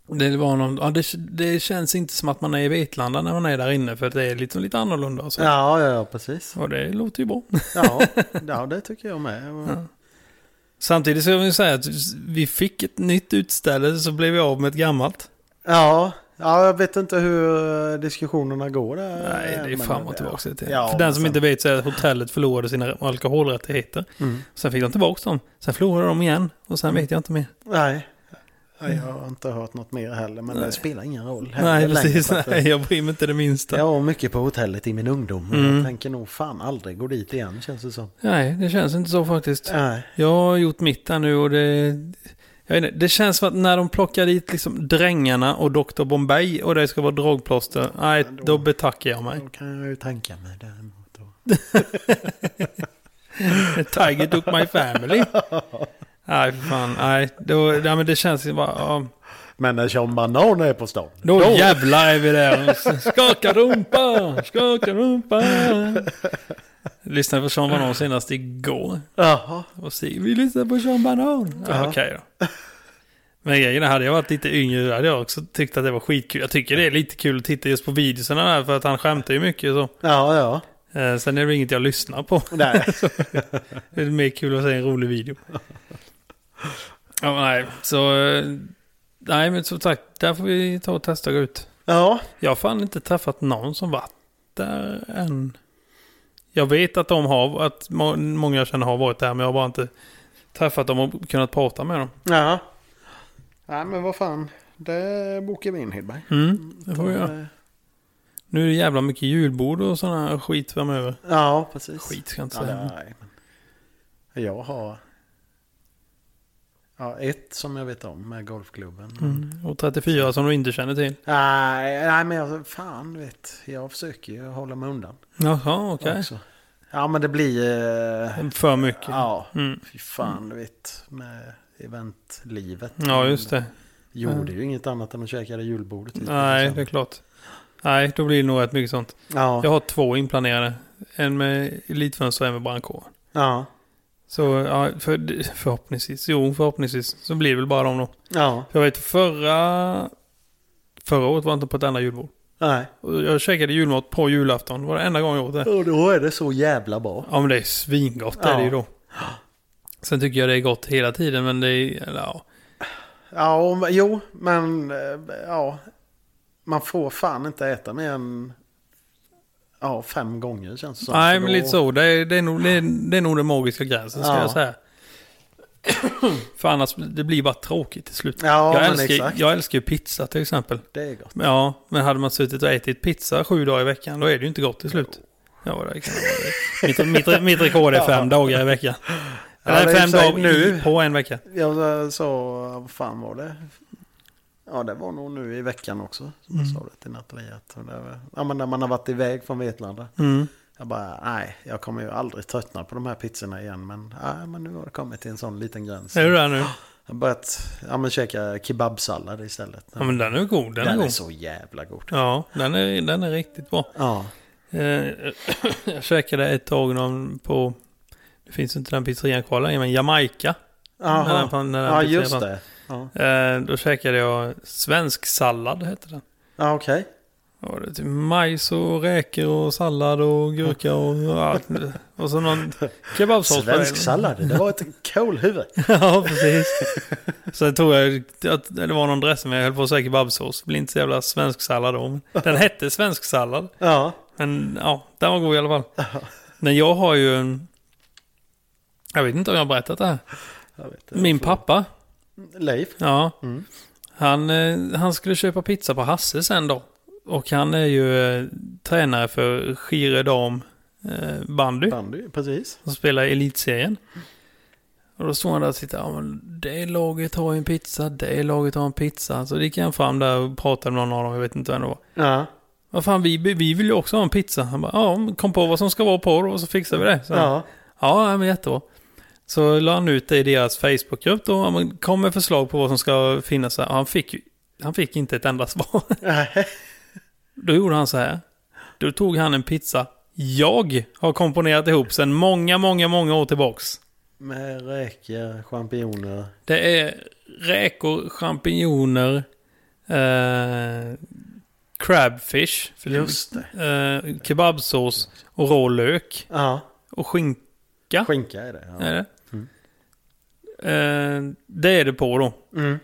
Det var någon... Ja, det, det känns inte som att man är i Vetlanda när man är där inne. För att det är liksom lite annorlunda och så.
Ja, ja, ja, precis.
Och det låter ju bra.
Ja, ja, det tycker jag med. Och-
Samtidigt så vill jag säga att vi fick ett nytt utställe så blev vi av med ett gammalt.
Ja, ja jag vet inte hur diskussionerna går där.
Nej, det är
Eh, men-
fram och tillbaka lite.
Ja,
För den
men
som
sen-
inte vet så är att hotellet förlorade sina alkoholrättigheter.
Mm.
Sen fick de tillbaka dem. Sen förlorade de igen. Och sen vet jag inte mer.
Nej. Nej, jag har inte hört något mer heller, men det spelar ingen roll. heller
Nej,
längre,
precis.
för att-
Nej, jag bryr mig inte det minsta.
Jag var mycket på hotellet i min ungdom. men
Mm.
Jag tänker nog fan aldrig gå dit igen känns det som.
Nej, det känns inte så faktiskt.
Nej.
Jag har gjort mitt där nu och det... Jag vet inte, det känns som att när de plockar dit liksom Drängarna och Dr. Bombay och det ska vara drogplåster, nej,
Ja, då-
då betackar jag mig.
Då kan jag ju tänka mig däremot. då.
Tiger took my family. Nej, för fan, nej. Då, nej, men det känns ju bara... Ja.
Men när Sean Banan är på stan.
Då jävlar är vi där. Skaka rumpa, skaka rumpa. Jag Lyssnade på Sean Banan senast igår.
Jaha.
Och se, vi lyssnar på Sean Banan. Ja,
Ja.
Okej då. Men grejen är, hade jag varit lite yngre hade jag också tyckt att det var skitkul. Jag tycker det är lite kul att titta just på videorna där för att han skämtar ju mycket och så.
Ja, ja.
Eh, sen är det inget jag lyssnar på.
Nej.
Det är mer kul att se en rolig video. Ja, men nej, så... eh, Nej, men som sagt, där får vi ta och testa och gå ut.
Ja.
Jag har fan inte träffat någon som varit där än. Jag Jag vet att de har, att må- många jag känner har varit där, men jag har bara inte träffat dem och kunnat prata med dem.
Ja. Nej men vad fan. Det bokar vi in Hedberg.
Mm, det får vi göra.
Eh,
Nu är det jävla mycket julbord och sådana här skit framöver.
Ja, precis.
Skit ska jag inte
Ja,
säga.
nej, men jag har ja, ett som jag vet om med golfklubben.
Mm. Och 34 som du inte känner till.
Nej, nej, men jag, fan vet. Jag försöker ju hålla mig undan.
Jaha, okej.
Också. Ja, men det blir... Eh,
För mycket.
ja,
Mm.
fy fan du vet. Med eventlivet.
Ja, just det.
Gjorde ju inget annat än att käka det julbordet. typ, hittills.
Nej, det är klart. Nej, då blir det nog rätt mycket sånt.
Ja,
Jag har två inplanerade. En med elitfönster och en med brandkår.
ja,
Så ja, för, förhoppningsvis, jo förhoppningsvis så blir det väl bara dem då.
ja,
Jag vet förra, förra året var jag inte på ett enda julbord.
nej.
Och Jag käkade julmat på julafton, det var det enda gången jag åt det.
Och då är det så jävla bra.
Ja men det är svingott
Ja.
är det ju då. Sen tycker jag det är gott hela tiden men det är, eller, ja.
Ja, om- jo, men eh, ja. Man får fan inte äta mer än ja, fem gånger känns det som.
Nej
För
men
då-
lite så, det är, det, är nog, det, är, det är nog den magiska gränsen ska
Ja.
jag säga. För annars, det blir bara tråkigt till slut.
Ja,
jag,
men
älskar,
exakt.
jag älskar ju pizza till exempel.
Det är gott.
Ja, men hade man suttit och ätit pizza sju dagar i veckan, då är det ju inte gott till slut. Ja, det kan mitt, mitt, mitt rekord är fem dagar i veckan.
Ja, det är
Eller
i
fem
och för sig
dagar
nu.
nu. på en vecka.
Jag sa, vad fan var det? Ja, det var nog nu i veckan också. Som jag sa det till Nathalie. att det var- Ja, men när man har varit iväg från Vetlanda.
Mm.
Jag bara, nej, jag kommer ju aldrig tröttna på de här pizzorna igen. Men, nej, men nu har det kommit till en sån liten gräns.
Är du där nu?
Jag har börjat ja, men käka kebabsallad istället.
Ja, men den är god. Den,
den
är
är
god.
så jävla god.
Ja, den är, den är riktigt bra.
Ja.
Eh, jag käkade ett tag någon på, det finns inte den pizzerian kvar längre, men Jamaica. När den
Aha.
fan- när den
Ja,
pizzerian
just
fanns.
det. Ja,
Eh, då käkade jag svensk sallad, hette den.
ja okej.
Ja, det är typ majs och räkor och sallad och gurka och allt. Och så någon kebabsås. på
Svensk
det.
sallad, det var ett kolhuvud.
ja, precis. Sen tror jag att det var någon dressing, men jag höll på att säga kebabsås. Det blir inte så jävla svensk sallad då. men Den hette svensk sallad.
Ja,
Men ja, den var god i alla fall. Men jag har ju en... Jag vet inte om jag har berättat det här.
jag vet.
Min pappa,
Leif.
ja.
Mm.
Han, eh, han skulle köpa pizza på Hasse sen då. Och han är ju eh, tränare för Skire dam eh, bandy.
Bandy, precis.
Som spelar i elitserien. Och då står han där och tittar. Ja, men det laget har ju en pizza, det laget har en pizza. Så gick han fram där och pratade med någon av dem, jag vet inte vem det var.
Ja,
Vad fan, vi, vi vill ju också ha en pizza. Han bara, ja, men kom på vad som ska vara på då, och så fixar vi det. Så,
ja.
ja, ja, men jättebra. Så la han ut det i deras Facebookgrupp då. Ja, men kom med förslag på vad som ska finnas där. Och Han fick, ju- han fick inte ett enda svar.
Nej.
Då gjorde han så här. Då tog han en pizza jag har komponerat ihop sedan många, många, många år tillbaks.
Med räkor, champinjoner.
Det är räkor, champinjoner, eh, crabfish, för det-
det.
eh, kebabsås och rå lök
Ja,
och skinka.
skinka är det.
Är det?
Mm.
Eh, det är det på då.
Ja. Mm.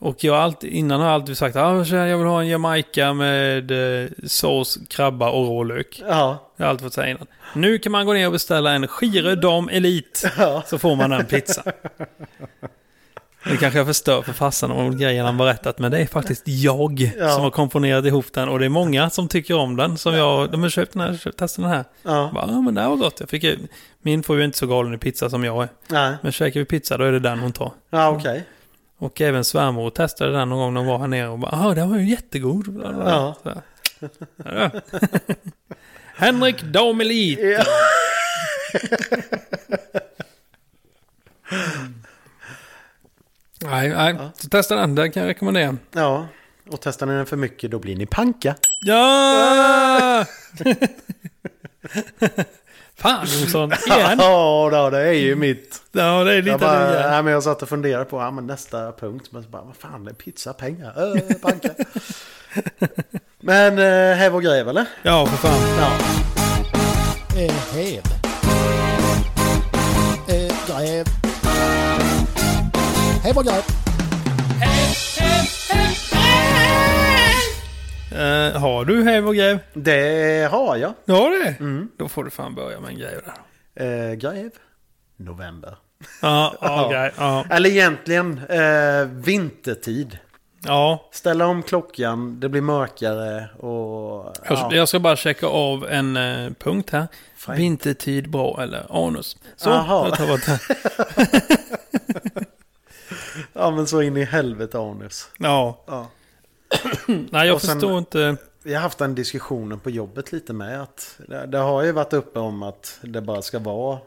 Och jag har alltid, innan har jag alltid sagt att jag vill ha en jamaica med eh, sås, krabba och rå lök.
Ja.
Det har jag alltid fått säga innan. Nu kan man gå ner och beställa en Gire Dam Elite.
Ja.
Så får man en pizza. Nu kanske jag förstör för farsan om grejen han berättat, men det är faktiskt jag
Ja.
som har komponerat ihop den och det är många som tycker om den. Som jag, de har köpt den här, köpt- testa den här. Jag
ja.
Bara, ja men det här var gott. Jag fick, ju- min fru är inte så galen i pizza som jag är.
Nej.
Men käkar vi pizza då är det den hon tar.
Ja, okej.
Och även svärmor testade den någon gång när hon var här nere och bara, ja den var ju jättegod. Bla, bla, bla.
Ja.
Så här. Ja. Henrik Damelit.
Ja.
Nej, nej. Så testa den, den kan jag rekommendera.
Ja. Och testar ni den för mycket då blir ni panka.
Ja! Fan Jonsson, igen.
Ja, då, det är ju mitt.
Ja, det är lite
Jag, bara,
det.
nej, men jag satt och funderade på ja, men nästa punkt. Men så bara, vad fan, det är pizza, pengar, öh, panka. men eh, häv och gräv eller?
Ja, för fan.
Ja.
Eh, Häv. Eh, Gräv. Häv och gräv.
Eh, Eh, har du häv och gräv?
Det har jag.
Du har det?
Mm.
Då får du fan börja med en grej där.
Eh, gräv. November.
Ja, ja,
Ja.
grej, ja.
Eller egentligen eh, vintertid.
ja.
Ställa om klockan, det blir mörkare och...
Jag,
ja.
jag ska bara checka av en eh, punkt här.
Fine.
Vintertid bra eller anus. Så,
Jaha.
jag tar bort det.
ja men så in i helvete anus.
Ja,
Ja.
nej jag
Och sen-
förstår inte.
Vi har haft den diskussionen på jobbet lite med att det, det har ju varit uppe om att det bara ska vara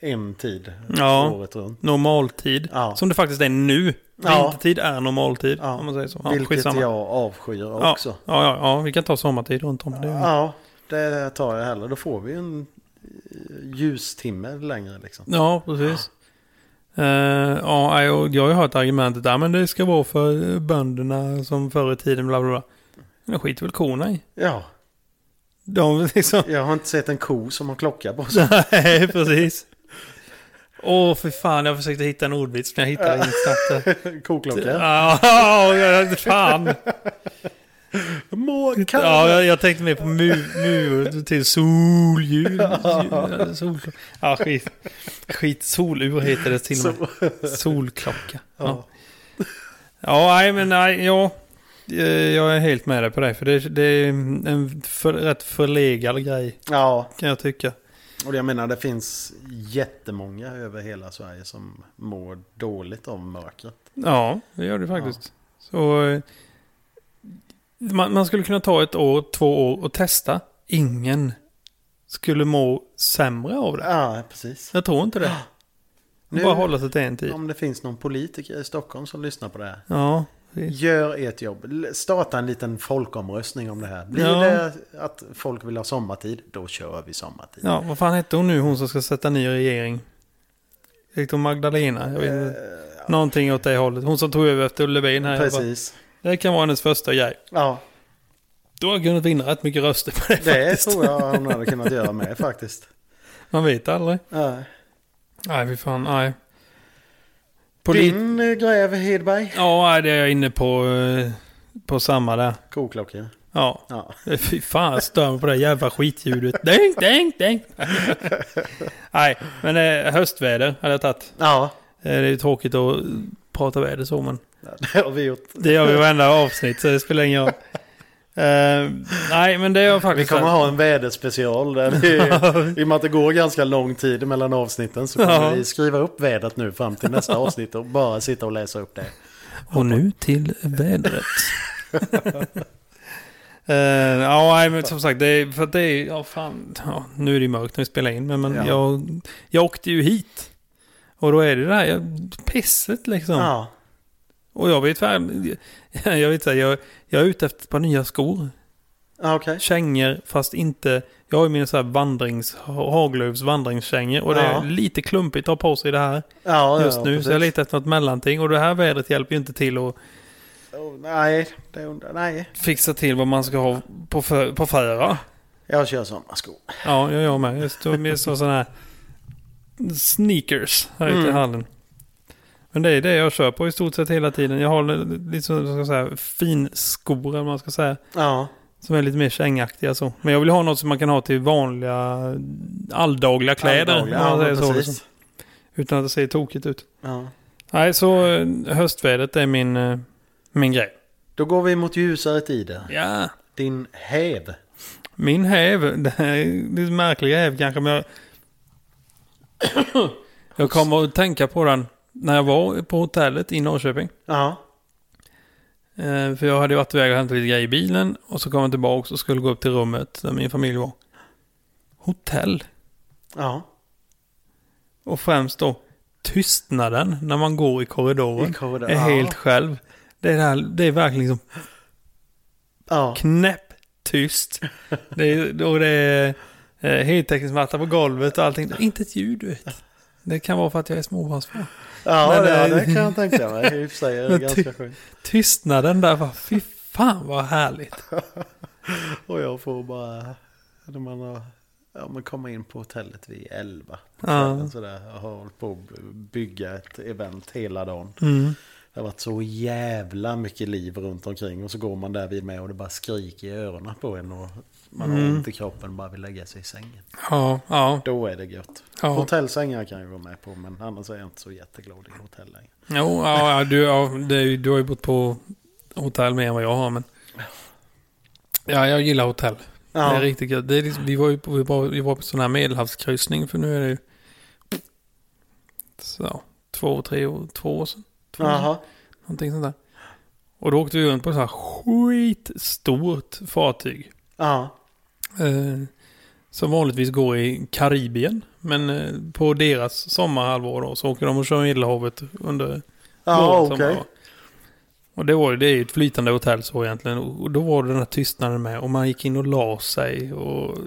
en tid
Ja.
året runt.
Normaltid.
Ja.
Som det faktiskt är nu.
Ja.
Vintertid är normaltid.
Ja.
Om man säger så. Ja,
vilket
skitsamma.
jag avskyr
ja.
också.
Ja, ja, ja, vi kan ta sommartid runt om. Det. Ja.
Ja, det tar jag hellre. Då får vi ju en eh, ljustimme längre liksom.
ja, precis. Eh, Ja, nej, och jag har ju hört argumentet där, men det ska vara för bönderna som förr i tiden, bla bla bla. Men skit väl korna i.
Ja,
De liksom...
jag har inte sett en ko som har klocka på sig.
Nej, precis. Åh, för fan, jag försökte hitta en ordvits, men jag hittade inget snabbt.
Koklocka.
Ja, ja, fan.
Må
Ja, jag, jag tänkte mer på mu, mu till soldjur. Sol, ja, skit. Skit, solur heter det till och med. Solklocka. Ja,
Ja.
ja nej, men nej, ja. Eh, Jag är helt med dig på det, för det, det är en för, rätt förlegad grej,
ja,
kan jag tycka.
och jag menar det finns jättemånga över hela Sverige som mår dåligt av mörkret.
Ja, det gör det faktiskt. Så eh, man, man skulle kunna ta ett år, två år och testa. Ingen skulle må sämre av det.
Ja, precis.
Jag tror inte det.
Nu-
Bara hålla sig till en tid.
Om det finns någon politiker i Stockholm som lyssnar på det här.
Ja, precis.
Gör ert jobb. L- Starta en liten folkomröstning om det här. Blir
Ja.
det att folk vill ha sommartid, då kör vi sommartid.
ja vad fan hette hon nu, hon som ska sätta ny regering? Hette hon Magdalena? Jag vet inte. Någonting åt det hållet. Hon som tog över efter Löfven här. Jag Bara,
Eh, Precis.
det kan vara hennes första grej.
Ja,
Då har jag kunnat vinna rätt mycket röster på det,
det
faktiskt.
tror jag hon hade kunnat göra med faktiskt.
Man vet aldrig.
Ja.
Nej, fy fan, nej. Polit-
Din eh, gräv Hedberg.
Ja, nej, det är jag inne på, eh, på samma där.
Koklocka.
Ja. Eh,
Ja.
Fy fan, jag stör mig på det här jävla skitljudet. Däng, däng, däng. Nej, men eh, höstväder hade jag tagit.
ja,
Eh, Det är ju tråkigt att eh, prata väder så, men
det har vi gjort.
det gör vi i varenda avsnitt, så det spelar ingen roll. Eh, nej, men det är jag
Vi
faktiskt...
kommer ha en väderspecial. Där vi, I och med att det går ganska lång tid mellan avsnitten så kommer
Ja.
vi skriva upp vädret nu fram till nästa avsnitt och bara sitta och läsa upp det.
Och nu till vädret. Eh, ja, nej, men som sagt, det är, för att det är, ja fan, ja, nu är det ju mörkt när vi spelar in, men, men
Ja.
jag, jag åkte ju hit. Och då är det det här jag, pisset liksom.
Ja,
Och jag vet fan, jag vet inte, jag, jag är ute efter ett par nya skor.
ja okej.
Kängor, fast inte, jag har ju mina så här vandrings, Haglöfs vandringskängor. Och det är
Ja.
lite klumpigt att ha på sig det här
Ja,
just
ja,
nu.
precis.
Så jag letar efter något mellanting. Och det här vädret hjälper ju inte till att
Oh, nej, det undrar Nej,
fixa till vad man ska ha på, för, på föra.
jag kör sommarskor.
Ja, jag gör med. Jag står med sådana här sneakers här ute i
Mm.
hallen. Men det är det jag kör på i stort sett hela tiden. Jag har lite sådana här finskor, eller vad man ska säga.
Ja,
Som är lite mer kängaktiga så. Men jag vill ha något som man kan ha till vanliga alldagliga kläder.
Alldagliga,
om man
ja,
säger så,
precis.
liksom. utan att det ser tokigt ut.
Ja.
Nej, så eh, höstvädret är min, eh, min grej.
Då går vi mot ljusare tider.
Ja.
Din häv.
Min häv, det här är lite märklig häv kanske, men jag... jag kommer att tänka på den när jag var på hotellet i Norrköping.
Ja,
Eh, För jag hade varit iväg och hämtat lite grejer i bilen och så kom jag tillbaka och skulle gå upp till rummet där min familj var. Hotell.
ja.
Och främst då tystnaden när man går i korridoren.
I korridoren,
är
ja.
helt själv. Det är, det här, det är verkligen liksom
ja.
knäpptyst. Det är, och det är eh, heltäckningsmatta på golvet och allting. Det är inte ett ljud, du vet. Det kan vara för att jag är småbarnsfar.
Ja,
Men,
det,
eh,
det kan jag tänka mig. I och för sig är det
Men
ganska
ty-
skönt.
Tystnaden där var, fy fan vad härligt.
Och jag får bara... När man har... Ja, man kommer in på hotellet vid elva. på
Ja. Mm.
kvällen Sådär. Jag har hållit på att bygga ett event hela dagen. Det har varit så jävla mycket liv runt omkring och så går man där vid med och det bara skriker i öronen på en och man har ont i kroppen och bara vill lägga sig i sängen.
Mm. Ja, ja.
Då är det gött.
Ja.
Hotellsängar kan jag gå med på men annars är jag inte så jätteglad i hotell längre.
Jo, ja, ja, du, ja, det är, ju- du har ju bott på hotell mer än vad jag har, men... Ja, jag gillar hotell.
Ja.
Det är riktigt gött. Det är liksom, vi var ju på, vi var, vi var på sån här medelhavskryssning, för nu är det ju... Så, två, tre år, två år sedan. Två år sedan.
Jaha.
Någonting sånt där. Och då åkte vi runt på ett så här skitstort fartyg.
Ja.
Eh, som vanligtvis går i Karibien. Men eh, på deras sommarhalvår då, så åker de och kör Medelhavet under
Ja,
våren,
okej.
sommaren, va. Och det, var, ju- det är ju ett flytande hotell så egentligen. Och och då var det den här tystnaden med. Och man gick in och la sig. Och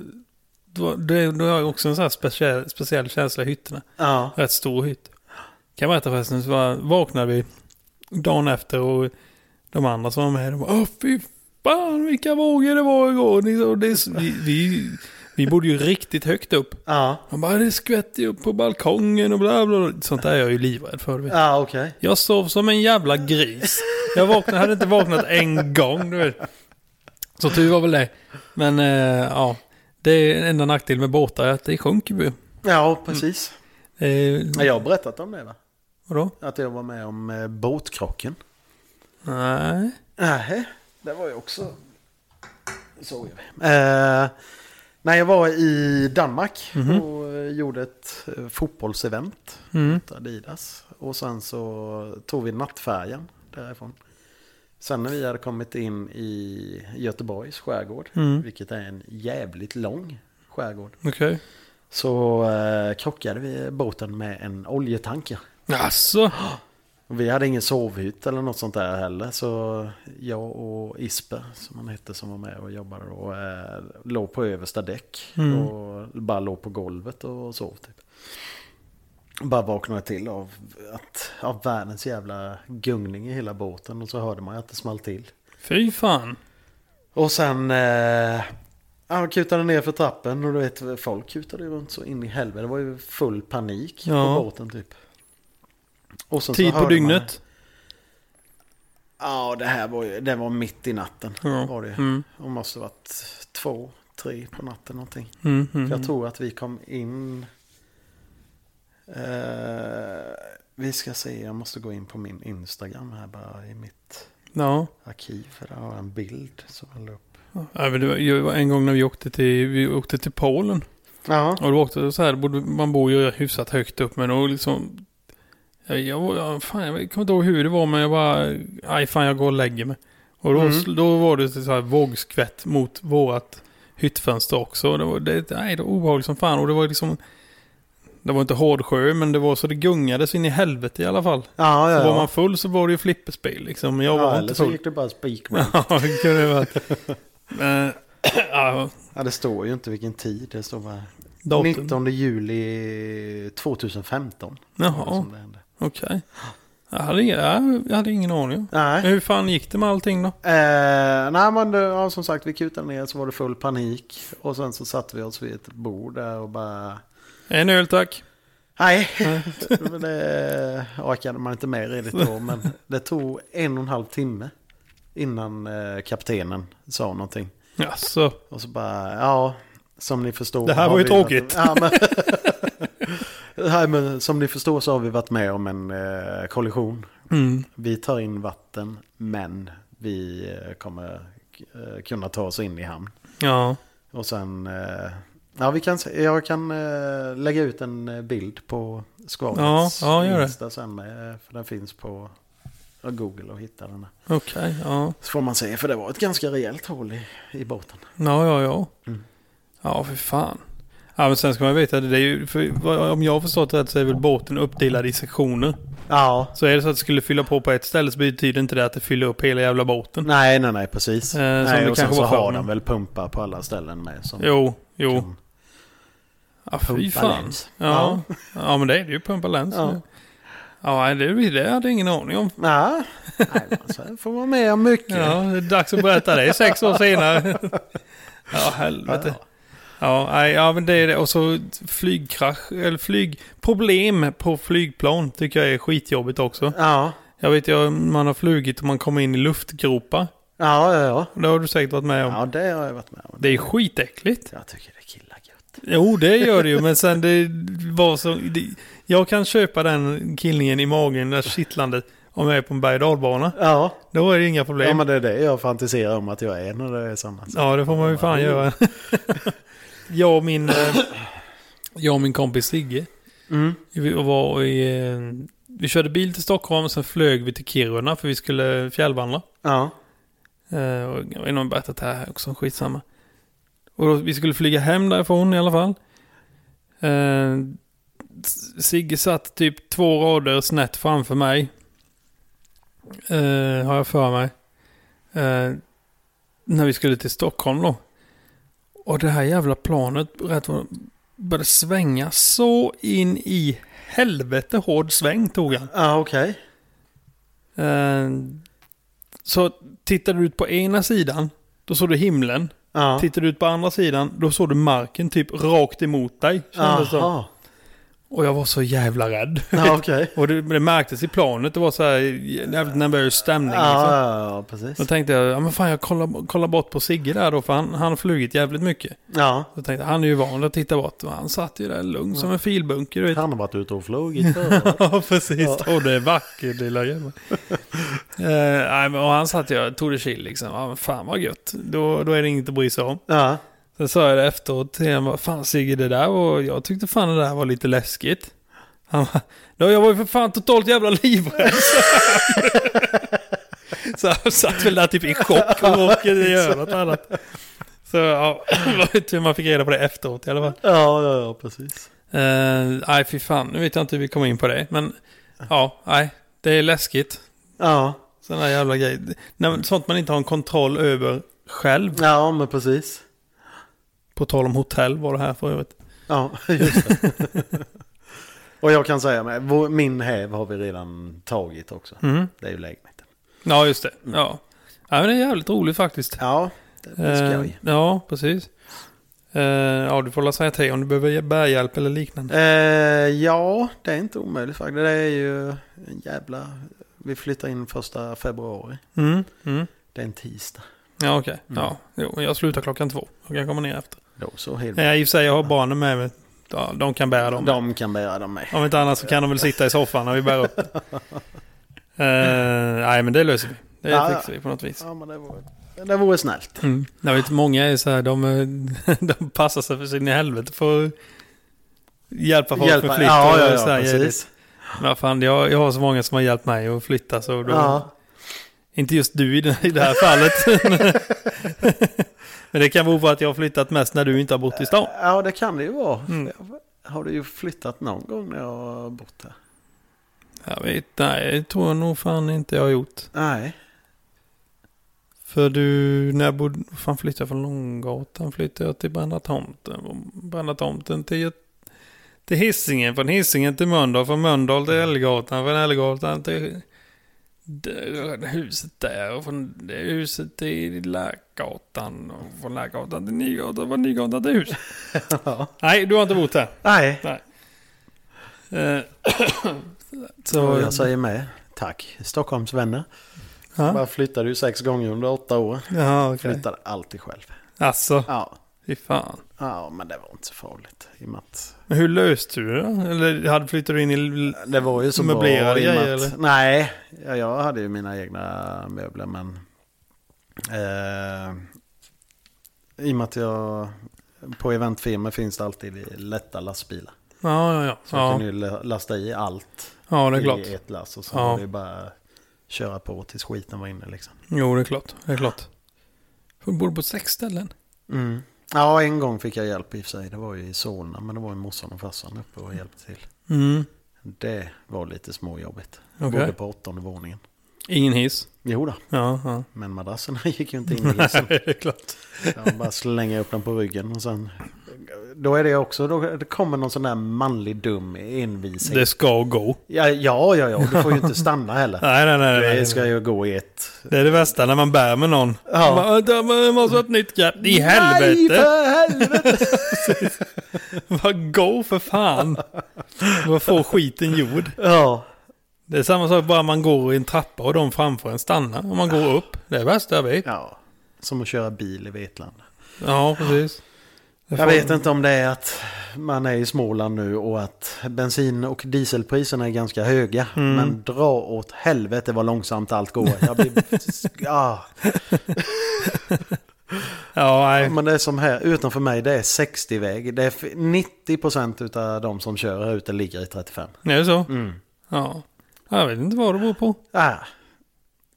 det, var- det, det var också en sån här speciell, speciell känsla i hytterna.
Ja.
Rätt stor hytt. Kan jag berätta förresten, så var- vaknade vi dagen efter och de andra som var med, de bara Åh fy fan vilka vågor det var igår. Ni- och Det, vi, vi, vi bodde ju riktigt högt upp.
Ja.
De bara det skvätte ju upp på balkongen och bla bla. bla." Sånt där är jag ju livrädd för. du vet.
Ja, okej.
Jag sov som en jävla gris. Jag vaknade, hade inte vaknat en gång. Du vet. Så tur var väl det. Men eh, ja, det är enda nackdel med båtar är att det sjunker ju.
Ja, precis.
Eh,
Ja, Jag har berättat om det va?
vadå?
Att jag var med om eh, båtkrocken.
Nej.
Nej, det var ju också... Så gör vi. Eh, när jag var i Danmark och eh, gjorde ett eh, fotbollsevent
Mm.
åt Adidas. Och sen så tog vi nattfärjan därifrån. Sen när vi hade kommit in i Göteborgs skärgård,
Mm.
vilket är en jävligt lång skärgård,
Okej.
så eh, krockade vi båten med en oljetanker.
Alltså.
Vi hade ingen sovhytt eller något sånt där heller. Så jag och Ispe, som han hette, som var med och jobbade då, eh, låg på översta däck. Och bara låg på golvet och sov typ. Bara vaknade till av, att, av världens jävla gungning i hela båten. Och så hörde man ju att det small till.
Fy fan.
Och sen... Eh, han kutade ner för trappen och du vet, folk kutade ju runt så in i helvete. Det var ju full panik
Ja.
på båten typ. Och sen så
Tid på
hörde man-
dygnet.
Ja, det här var ju, det var mitt i natten.
Ja.
Var det. ju.
Mm.
det måste ha varit två, tre på natten någonting.
Mm, mm.
För jag tror att vi kom in... Eh, vi ska se, jag måste gå in på min Instagram här bara i mitt
Ja.
arkiv. För där har jag en bild som jag la upp.
Ja, men det var- det var En gång när vi åkte till, vi åkte till Polen.
Ja,
Och då åkte det så här, borde- man bor ju hyfsat högt upp men då liksom... Jag, jag, var- ja, fan, jag kommer inte ihåg hur det var men jag bara... Aj fan jag går och lägger mig. Och då,
Mm.
sl- då var det så här vågskvätt mot vårat hyttfönster också. Och Det var, det, nej, det var obehagligt som fan och det var liksom... Det var inte hård sjö men det var så det gungade så in i helvete i alla fall.
ja, ja.
Så var man
ja.
full så var det ju flipperspel liksom. Men Jag var
ja eller
inte
så
full.
gick det bara spik med.
Ja, det kunde det varit. Men, ja,
Ja, det står ju inte vilken tid. Det står bara
datum.
19 juli 2015. var det
Jaha,
Som det hände.
okej. Jag, hade, ingen- ja, jag hade ingen aning.
Nej.
Hur fan gick det med allting då?
Eh, nej men det, ja, som sagt vi kutade ner så var det full panik. Och sen så satte vi oss vid ett bord där och bara...
En öl tack.
Nej, Men det orkade man inte med redigt då. Men det tog en och en halv timme innan eh, kaptenen sa någonting.
Alltså,
Och så bara, ja, som ni förstår.
Det här
har
var ju
vi
tråkigt.
Varit, ja, men, nej, men, som ni förstår så har vi varit med om en eh, kollision.
mm.
Vi tar in vatten, men vi eh, kommer eh, kunna ta oss in i hamn.
ja.
Och sen, eh, ja, vi kan, se- jag kan eh, lägga ut en eh, bild på skvallrets
Ja, ja, gör det.
Insta sen med, eh, för den finns på ja, Google och hitta den. där.
Okej, ja.
Så får man se, för det var ett ganska rejält hål i, i båten.
Ja, ja, ja.
Mm.
Ja, för fan. Ja, men sen ska man veta, det är ju, för, vad- om jag har förstått det rätt så är väl båten uppdelad i sektioner.
Ja,
Så är det så att det skulle fylla på på ett ställe så betyder inte det att det fyller upp hela jävla båten.
nej, nej, nej, precis.
Eh, som
nej,
det
och sen
kanske
så
var
har
förr,
de
men-
väl pumpar på alla ställen med. Som
Jo, jo.
kan
Ja, fy
pumpa
fan.
läns.
Ja. ja, men det är det ju. Pumpa läns.
Ja.
Ja, ja det, det hade jag ingen aning om.
Ja, nej, men så får man med om mycket.
Ja, det är dags att berätta det sex år senare. Ja, helvete. Ja, nej, ja, men det är det. Och så flygkrasch, eller flygproblem på flygplan tycker jag är skitjobbigt också.
Ja,
Jag vet ju, man har flugit och man kommer in i luftgropar.
Ja, ja, ja.
Det har du säkert varit med om.
Ja, det har jag varit med om.
Det är skitäckligt.
Jag tycker det killar gött.
Jo, det gör det ju, men sen det var så... Det, jag kan köpa den killningen i magen, det där kittlandet, om jag är på en berg och dalbana.
Ja.
Då är det inga problem.
ja, men det är det jag fantiserar om att jag är när det är sådana.
Ja, det får man ju fan göra. jag och min... eh, Jag och min kompis Sigge.
Mm.
Vi var i... eh, Vi körde bil till Stockholm och sen flög vi till Kiruna för vi skulle fjällvandra.
Ja.
Eh, och Jag vet inte om jag berättat det här också, skitsamma. Och då, vi skulle flyga hem därifrån i alla fall. Eh, S- Sigge satt typ två rader snett framför mig. Eh, har jag för mig. Eh, när vi skulle till Stockholm då. Och det här jävla planet rätt vad- började svänga så in i helvete hård sväng tog han.
Ja, okej.
Eh, Så tittade du ut på ena sidan, då såg du himlen.
Ja.
Tittade du ut på andra sidan, då såg du marken typ rakt emot dig. kändes det som.
Jaha.
Och jag var så jävla rädd.
Ja, okej.
Och det, det märktes i planet, det var så här jävligt nervös stämning.
Ja,
Liksom.
ja, ja,
Då
precis.
tänkte jag, ja men fan jag kollar, kollar bort på Sigge där då, för han, han har flugit jävligt mycket.
Ja.
Då tänkte jag, han är ju van att titta bort. Och han satt ju där lugn som en filbunker, du vet.
Han har varit ute och flugit förr.
Ja, precis. Och det är vackert, lilla jäveln. Eh, nej, men och han satt jag tog det chill liksom. Ja, men fan vad gött. Då, då är det inget att bry sig om.
Ja.
Sen sa jag det efteråt till honom. vad Fan Sigge, det där var... Jag tyckte fan det där var lite läskigt. Han bara, "Ja, jag var ju för fan totalt jävla livrädd. sa han. Så han satt väl där typ i chock och råkade göra något annat. Så ja, det var ju tur man fick reda på det efteråt i alla fall.
Ja, ja, ja, precis.
Eh, Nej, fy fan. Nu vet jag inte hur vi kom in på det. Men ja, nej. Det är läskigt.
Ja.
Sådana här jävla grejer. Nej, sånt man inte har en kontroll över själv.
Ja, men precis.
På tal om hotell var det här för övrigt.
Ja, just det. och jag kan säga med, vår- min häv har vi redan tagit också.
Mm.
Det är ju lägenheten.
Ja, just det. Ja. ja, men det är jävligt roligt faktiskt.
Ja, det blir
Eh,
skoj.
ja, precis. Eh, ja, du får väl säga till om du behöver bärhjälp eller liknande.
Eh, ja, det är inte omöjligt faktiskt. Det är ju en jävla... Vi flyttar in första februari.
Mm. Mm.
Det är en tisdag.
Ja, okej.
Mm.
Ja, jo, men jag slutar klockan två. Jag kan komma ner efter.
Då så, helt
Nej, i och för sig, jag har barnen med mig. Ja, de kan bära dem.
De kan bära dem med.
Om inte annars så kan de väl sitta i soffan när vi bär upp. Eh, nej, men det löser vi. Det
Ja, ja.
fixar vi på något vis.
Ja, men det vore, det vore snällt.
Mm. Jag vet, många är så här, de, eh, de passar sig för sin i helvete för att hjälpa folk med flytt.
ja,
och
ja,
så här,
ja, precis.
Ja, fan, jag, jag har så många som har hjälpt mig att flytta så då...
Ja,
Inte just du i det, i det här fallet. men det kan bero på att jag har flyttat mest när du inte har bott i stan.
ja, det kan det ju vara.
Mm.
Har du ju flyttat någon gång när jag har bott här?
Jag vet, nej, det tror jag nog fan inte jag har gjort.
Nej.
För du, när jag bodde, vad fan flyttade jag från Långgatan? Flyttade jag till Brända Tomten? Från Brända Tomten till, Gö- till Hisingen, från Hisingen till Mölndal, från Mölndal till Älgatan, från Älgatan till där, huset där och från det huset till Lärgatan och från Lärgatan till Nygatan, från Nygatan till huset. Nej, du har inte bott här.
Nej.
Eh,
Och
Så,
jag säger med. Tack, Stockholmsvänner.
ja,
Jag flyttade ju sex gånger under åtta år.
ja okej.
Flyttade alltid själv.
Alltså,
Ja.
fy fan.
ja, men det var inte så farligt. I och med att
Men hur löste du det? då? Eller hade flyttat in i...
det var ju så bra.
Möblerade
i och med
grejer,
att-
eller?
Nej, ja, jag hade ju mina egna möbler men... Eh, I och med att jag... På eventfirmor finns det alltid lätta lastbilar.
Ja, ja, ja.
Så jag
Ja,
kunde ju la- lasta i allt
ja det är klart.
i ett lass och så
Ja.
var det ju bara köra på tills skiten var inne liksom.
Jo, det är klart. Det är klart. För du bor på sex ställen.
Mm. Ja, en gång fick jag hjälp i och för sig. Det var ju i Solna, men det var ju morsan och farsan uppe och hjälpte till.
Mm.
Det var lite småjobbigt.
Okej.
Bodde på åttonde våningen.
Ingen hiss.
Jo då,
Ja, ja.
men madrasserna gick ju inte in i hissen.
det är klart.
Jag bara slänger upp den på ryggen och sen... Då är det också, då det kommer någon sån där manlig dum envising.
Det ska gå.
Ja, ja, ja, ja, du får ju inte stanna heller.
Nej, nej, nej. nej.
Det ska ju gå i ett...
Det är det värsta när man bär med någon.
Ja.
Man, "Äh, man måste ha ett nytt grepp. I
Nej,
helvete!
för helvete!
Vad Gå för fan! Vad får skiten gjord?
ja.
Det är samma sak bara man går i en trappa och de framför en stannar. Och man går upp. Det är värsta jag vet.
Ja, som att köra bil i Vetlanda.
Ja, precis. Det
Jag
får-
vet inte om det är att man är i Småland nu och att bensin och dieselpriserna är ganska höga. Men dra åt helvete vad långsamt allt går. Jag blir... ah.
Ja, nej.
Men det är som här, utanför mig det är 60-väg. Det är f- 90% av de som kör här ute ligger i 35.
Det är så.
Mm.
Ja. Jag vet inte vad det beror på.
Ah.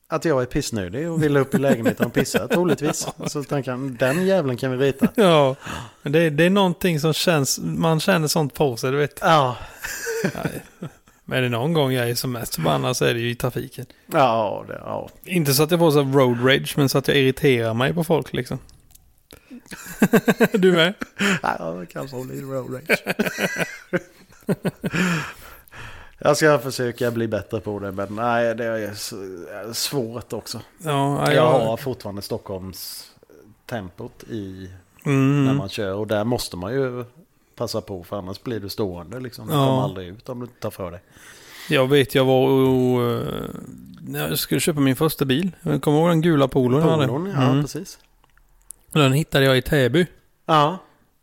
Att jag är pissnödig och vill upp i lägenheten och pissa troligtvis. Så tänker han, den jäveln kan vi rita.
Ja. Men det, det är någonting som känns... Man känner sånt på sig, du vet.
Ja,
Men är det någon gång jag är som mest förbannad så är det ju i trafiken.
ja, det, ja.
Inte så att jag får så här road rage, men så att jag irriterar mig på folk liksom. du med?
Ja, det kanske hon är road rage. Jag ska försöka bli bättre på det, men nej, det är s- svårt också.
Ja,
Jag
ja.
har fortfarande Stockholms tempot i när
Mm.
man kör och där måste man ju passa på för annars blir du stående liksom. Du
Ja.
kommer aldrig ut om du inte tar för dig.
Jag vet, jag var och... eh, när jag skulle köpa min första bil. Jag kommer ihåg den gula polon jag hade?
Polon, ja
Mm.
precis.
Den hittade jag i Täby.
Ja,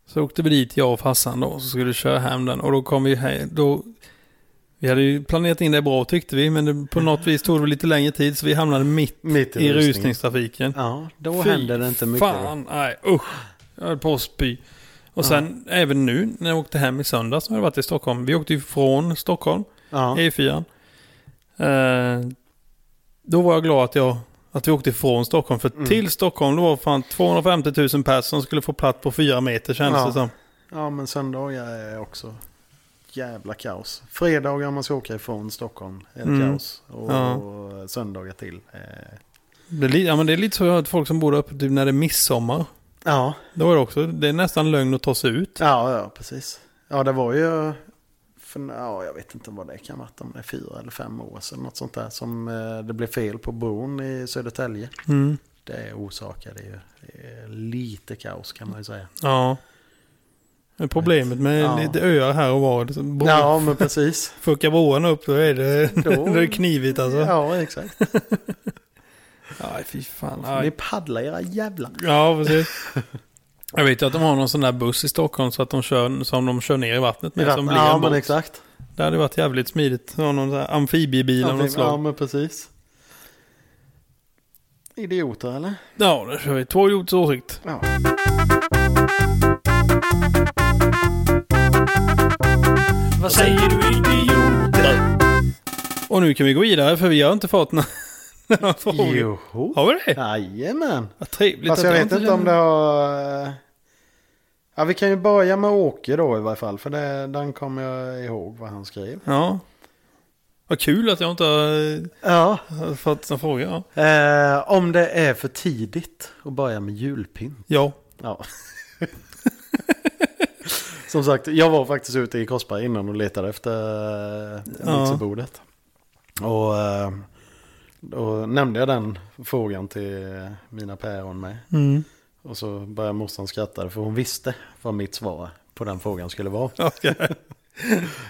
Så åkte vi dit, jag och farsan då, så skulle vi köra hem den. Och då kom vi här, då... Vi hade ju planerat in det bra tyckte vi, men det, på något vis tog det lite längre tid så vi hamnade mitt
mitt
i
i rusning.
rusningstrafiken.
Ja, då
Fy
händer det inte mycket. då.
Fan, nej usch. Jag höll på att spy. Och sen även nu när jag åkte hem i söndags när jag varit i Stockholm. Vi åkte ju från Stockholm,
Ja,
E4. Eh, då var jag glad att, jag, att vi åkte från Stockholm.
Mm.
För till Stockholm det var fan 250 000 personer som skulle få plats på fyra meter kändes
Ja.
det som.
ja, men söndagar är också jävla kaos. Fredagar om man ska åka ifrån Stockholm är det
Mm.
kaos. Och,
Ja.
och söndagar till. Eh,
Det är, li- ja, men det är lite så jag har hört folk som bor där uppe typ när det är midsommar.
ja,
Då är det också, det är nästan lögn att ta sig ut.
ja, ja, precis. Ja, det var ju... För, ja, jag vet inte vad det kan vara, om det är fyra eller fem år sedan, något sånt där, som eh, det blev fel på bron i Södertälje.
Mm.
Det orsakade ju eh, lite kaos kan man ju säga.
Ja. Men Problemet med
Ja.
lite öar här och var. Liksom, det- bor-
Ja, men precis.
Fuckar broarna upp då är det,
Då-
då är det knivigt alltså. Ja.
Ja, exakt.
Nej, fy fan.
Ni
Aj.
paddlar era jävlar.
Ja, precis. Jag vet ju att de har någon sån där buss i Stockholm så att de kör, som de kör ner i vattnet med. Som blir
ja,
en
men
båt.
exakt.
Det hade varit jävligt smidigt. Ha någon sån här amfibiebil av något
ja,
slag.
men precis. Idioter eller?
Ja, då kör vi. Två idioters åsikt.
Ja.
Vad säger du idioter? Och nu kan vi gå vidare för vi har inte fått några några frågor.
Joho.
Har vi det?
Jajamän.
Vad trevligt
Fast jag
att
vet inte om det
känner-
har... eh, Ja, vi kan ju börja med Åke då i varje fall. För det, den kommer jag ihåg vad han skrev.
Ja. Vad kul att jag inte har
Ja.
har fått några frågor. Ja.
Eh, om det är för tidigt att börja med julpynt.
ja.
Ja. Som sagt, jag var faktiskt ute i Korsberg innan och letade efter eh,
Ja.
mixerbordet. Och eh, då nämnde jag den frågan till mina päron med.
Mm.
Och så började morsan skratta för hon visste vad mitt svar på den frågan skulle vara.
Okej.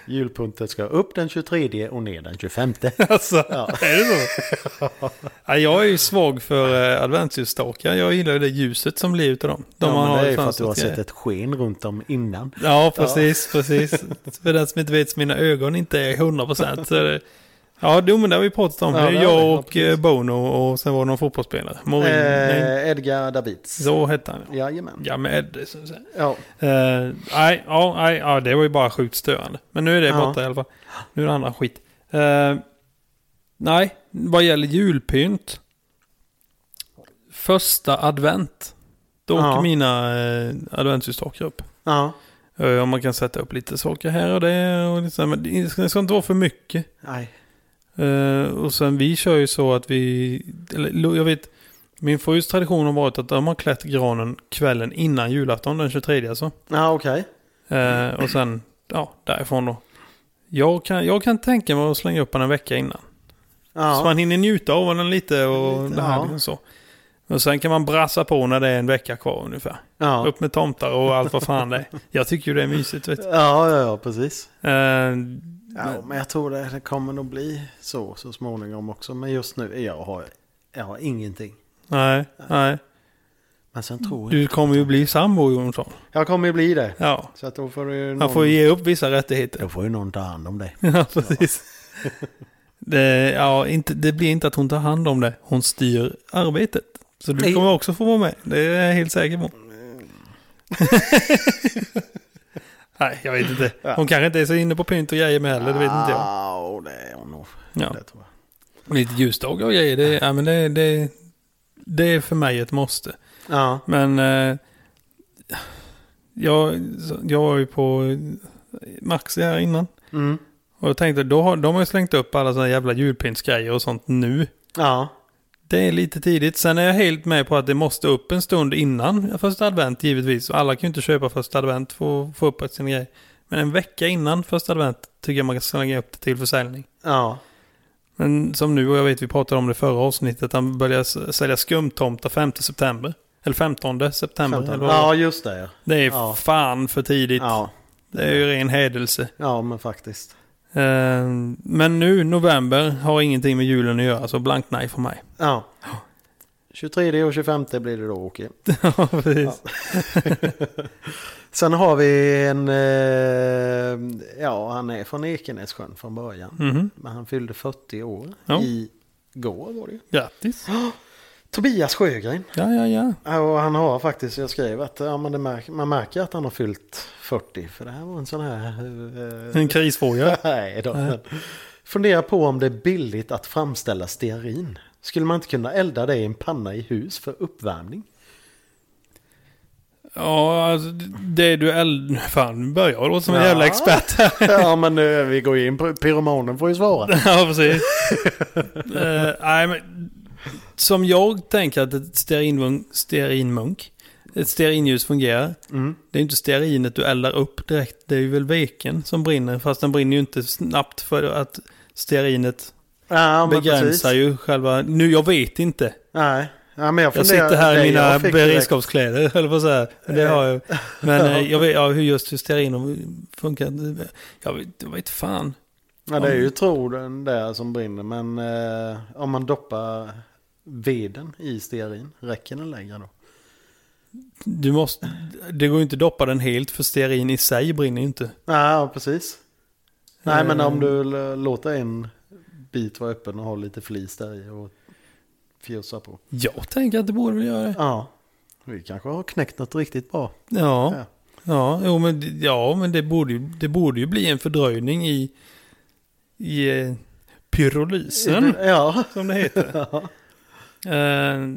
Julpuntet ska upp den 23 och ner den 25.
Alltså,
Ja.
är det så? ja, jag är ju svag för eh, adventsljusstakar. Jag gillar ju det ljuset som blir utav dem. De
ja,
man
men
har
det är
i
ju för att du har
fönstret.
sett ett sken runt om innan.
Ja, precis, precis. För den som inte vet så mina ögon inte är 100%. Så är det... Ja, jo, men det har vi pratat om.
Ja,
det är
det har vi.
jag
Ja,
och
precis.
eh, Bono och sen var det någon fotbollsspelare. Morin, nej,
Eh, Edgar Davids.
så hette han. ja.
Jajamän.
Ja, med Eddie. så att säga.
Ja.
Eh, Nej, ja, nej, ja, det var ju bara sjukt störande. Men nu är det
Ja.
borta i alla fall. Nu är det andra skit. Eh, nej, vad gäller julpynt. Första advent. Då
Ja.
åker mina eh, adventsljusstakar upp.
Ja.
Eh, Om man kan sätta upp lite saker här och där. Och liksom, men det ska, det ska inte vara för mycket.
Nej.
Eh, och sen vi kör ju så att vi... Eller, lo- jag vet, min frus tradition har varit att de har klätt granen kvällen innan julafton, den 23 alltså.
Ja, okej.
Eh, och sen, ja, därifrån då. Jag kan, jag kan tänka mig att slänga upp den en vecka innan. Så
Ja.
man hinner njuta av den lite och
Lite,
det här
ja.
liksom så. Och sen kan man brassa på när det är en vecka kvar ungefär.
Ja.
Upp med tomtar och allt vad fan det är. Jag tycker ju det är mysigt vet du.
Ja, ja, ja, precis.
Eh,
Ja, men jag tror det, det kommer nog bli så så småningom också. Men just nu, jag har, jag har ingenting.
Nej, nej.
Men sen tror jag...
Du kommer ju bli sambo Jonsson.
Jag kommer ju bli det.
Ja.
Så att då får du någon...
Han får ge upp vissa rättigheter.
Då får ju någon ta hand om dig.
Ja, precis. Det, ja, inte, det blir inte att hon tar hand om det. Hon styr arbetet. Så du
Nej.
kommer också få vara med. Det är jag helt säker på. Nej, jag vet inte. Hon kanske inte är så inne på pynt och grejer med heller. Det vet inte jag.
Ja, och det är hon nog.
Ja.
Ah, Det tror jag.
Lite ljusdagar och grejer. Det, ja, men det, det, det är för mig ett måste.
Ja.
Men eh, jag, jag var ju på Maxi här innan.
Mm.
Och jag tänkte, då har, de har ju slängt upp alla sådana jävla julpyntsgrejer och sånt nu.
Ja.
Det är lite tidigt. Sen är jag helt med på att det måste upp en stund innan första advent givetvis. Och alla kan ju inte köpa första advent för att få upp sina grejer. Men en vecka innan första advent tycker jag man kan slänga upp det till försäljning.
Ja.
Men som nu, och jag vet vi pratade om det i förra avsnittet, att han börjar s- sälja skumtomtar 5 september. Eller 15 september. Eller vad det var.
Ja, just det. ja.
Det är
Ja.
fan för tidigt.
Ja.
Det är ju ren hädelse.
ja, men faktiskt.
Eh, Men nu, november, har ingenting med julen att göra, så blankt nej för mig.
Ja. 23 och 25 blir det då, Åke.
ja, precis.
Sen har vi en... Eh, ja, han är från Ekenässjön från början.
Mhm.
Men han fyllde 40 år
Ja.
igår var det ju.
Grattis.
Tobias Sjögren.
Ja, ja, ja.
Ja, Och han har faktiskt, jag skrev att ja, men det märk, man märker att han har fyllt 40. För det här var en sån här... eh,
En krisfråga.
Nej då. men Fundera på om det är billigt att framställa stearin. Skulle man inte kunna elda det i en panna i hus för uppvärmning?
Ja, alltså, det du eld... Fan, nu börjar jag låta som en
Ja.
jävla expert här.
ja men eh, vi går ju in, på- pyromanen får ju svara.
ja, precis. Eh, Nej, men... Som jag tänker att ett stearinmunk, stearinmunk ett stearinljus fungerar.
Mm.
Det är ju inte stearinet du eldar upp direkt. Det är ju väl veken som brinner. Fast den brinner ju inte snabbt för att stearinet
Ja, men
begränsar
precis.
ju själva... Nu, jag vet inte.
Nej. Ja, men jag,
Jag
funderar-
sitter här
det
i mina
jag fick direkt-
beredskapskläder, eller vad säger Men det har jag. Men eh, jag vet ja, hur just hur stearin funkar. Jag vet, jag vet fan.
Ja, det är ju tråden där som brinner, men eh, om man doppar veden i stearin, räcker den längre då?
Du måste, det går ju inte att doppa den helt för stearin i sig brinner ju inte.
Ja, precis. Nej, men om
Eh.
du l- låter en bit vara öppen och har lite flis där i och fjussa på.
Jag tänker att det borde väl göra det.
Ja, vi kanske har knäckt något riktigt bra.
Ja,
Ja.
ja, jo, men, det- ja men det borde, ju- det borde ju bli en fördröjning i, i eh, pyrolysen,
Ja,
som det heter. Eh,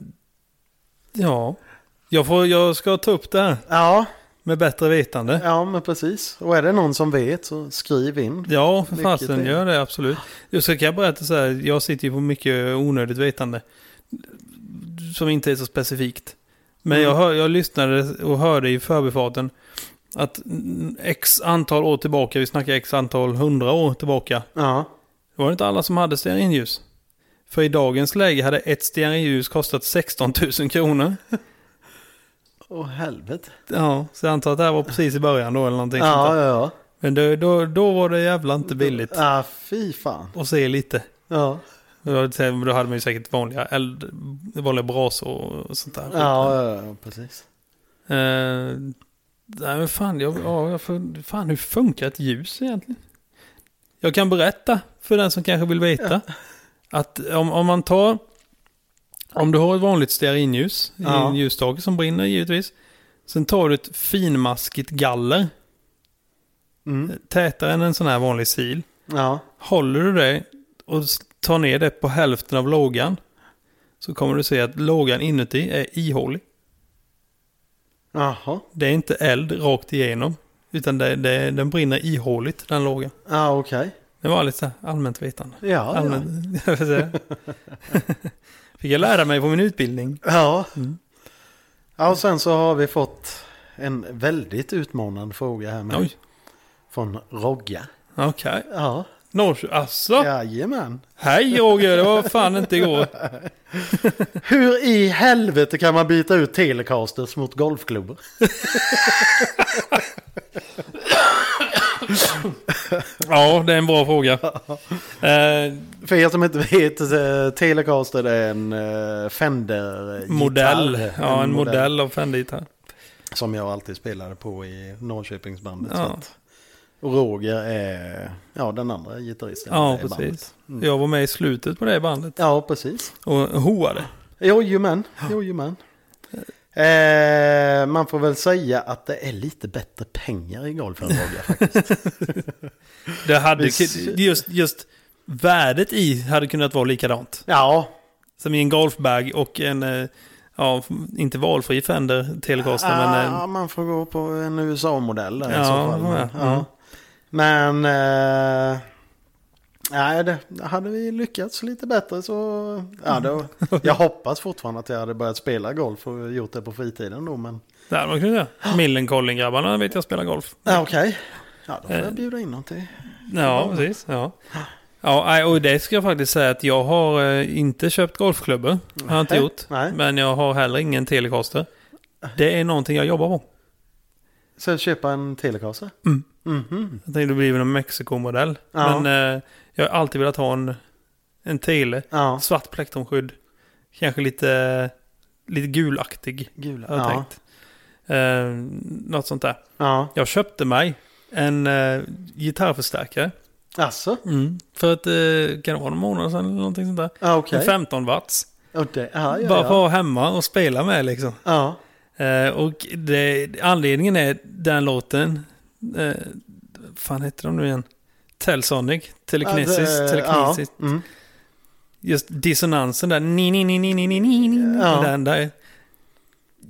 ja, jag, får, jag ska ta upp det här
ja,
med bättre vetande.
ja, men precis. Och är det någon som vet så skriv in.
Ja, för
Mycket
fasen
till.
gör det absolut. Jag ska kan jag berätta så här, jag sitter ju på mycket onödigt vetande. Som inte är så specifikt. Men
Mm.
jag, hör, jag lyssnade och hörde i förbifarten att mm, x antal år tillbaka, vi snackar x antal hundra år tillbaka,
Ja,
det var inte alla som hade stearinljus. För i dagens läge hade ett stearinljus kostat 16 000 kronor.
åh helvete.
Ja, så jag antar att det här var precis i början då eller någonting sånt
Ja,
där.
ja, ja.
Men då, då, då var det jävla inte billigt
Ja, fy fan.
att se lite.
Ja,
Ja, Då hade man ju säkert vanliga, eld, vanliga brasor och sånt där.
ja, ja, ja precis.
Eh, nej men fan, jag, ja, jag, får- fan hur funkar ett ljus egentligen? Jag kan berätta för den som kanske vill veta. Att om, om man tar, om du har ett vanligt stearinljus, i
Ja.
en ljusstake som brinner givetvis. Sen tar du ett finmaskigt galler,
Mm.
tätare än en sån här vanlig sil.
Ja,
Håller du det och s- tar ner det på hälften av lågan så kommer du se att lågan inuti är ihålig.
jaha.
Det är inte eld rakt igenom utan det, det, den brinner ihåligt den lågan.
Ja, okej.
Det var lite så här allmänt vetande.
Ja, ja.
Allmänt, jag vill säga. Fick jag lära mig på min utbildning.
Ja.
Mm.
ja, och sen så har vi fått en väldigt utmanande fråga här med.
Oj,
Från Rogga.
okej.
Ja,
Norrköping, alltså.
jajamän.
Hej Roger, det var fan inte igår.
Hur i helvete kan man byta ut Telecasters mot golfklubbor?
Ja, det är en bra fråga. Eh,
För er som inte vet, eh, Telecaster är en eh, Fender-gitarr.
modell. Ja, en modell av Fender-gitarr.
Som jag alltid spelade på i Norrköpingsbandet.
Ja.
så att- Och Roger är ja, den andra gitarristen
Ja,
i bandet. Mm.
precis. Jag var med i slutet på det bandet
Ja, precis.
och hoade.
Jojomän, jojomän. Eh, man får väl säga att det är lite bättre pengar i golf än Roger faktiskt.
Det hade,
Visst.
just, just värdet i hade kunnat vara likadant.
Ja,
Som i en golfbag och en, eh, ja, inte valfri Fender Telecaster, men eh,
ah,
en,
man får gå på en USA-modell där
Ja,
i så fall.
ja, Mm.
Men,
ja.
ja. men eh, nej, det, hade vi lyckats lite bättre så... Ja, då, jag hoppas fortfarande att jag hade börjat spela golf och gjort det på fritiden då, men...
det hade man kunnat göra. Millencolin-grabbarna vet jag spelar golf.
Ja, okej. Ja, då får
Eh.
jag bjuda in någon till.
Ja, precis. Ja. Ja, nej, och det ska jag faktiskt säga att jag har eh, inte köpt golfklubbor. Har jag inte
Nej,
gjort.
nej.
Men jag har heller ingen Telecaster. Det är någonting jag jobbar på.
Så köpa en Telecaster?
Mm.
Mhm.
Jag tänkte det blir väl en Mexiko-modell.
Ja.
Men eh, jag har alltid velat ha en, en tele.
Ja,
Svart plektrumskydd. Kanske lite, lite gulaktig.
gula.
Har jag
Ja,
tänkt. Eh, något sånt där.
ja.
Jag köpte mig en eh, gitarrförstärkare.
Alltså?
För att, eh, kan det vara någon månad sedan eller någonting sånt där.
Ja, okej.
En 15 watts.
Och det- Ja, ja,
Bara för att
ja.
ha hemma och spela med liksom.
ja.
Eh, och det, anledningen är den låten. Eh, fan heter de nu igen? Telsonic. Telekinesis.
Ja, det-
telekinesis.
Alltså, eh, Ja. Mm.
Just dissonansen där. Ni, ni, ni, ni, ni, ni, ni, ni.
Ja.
Den där.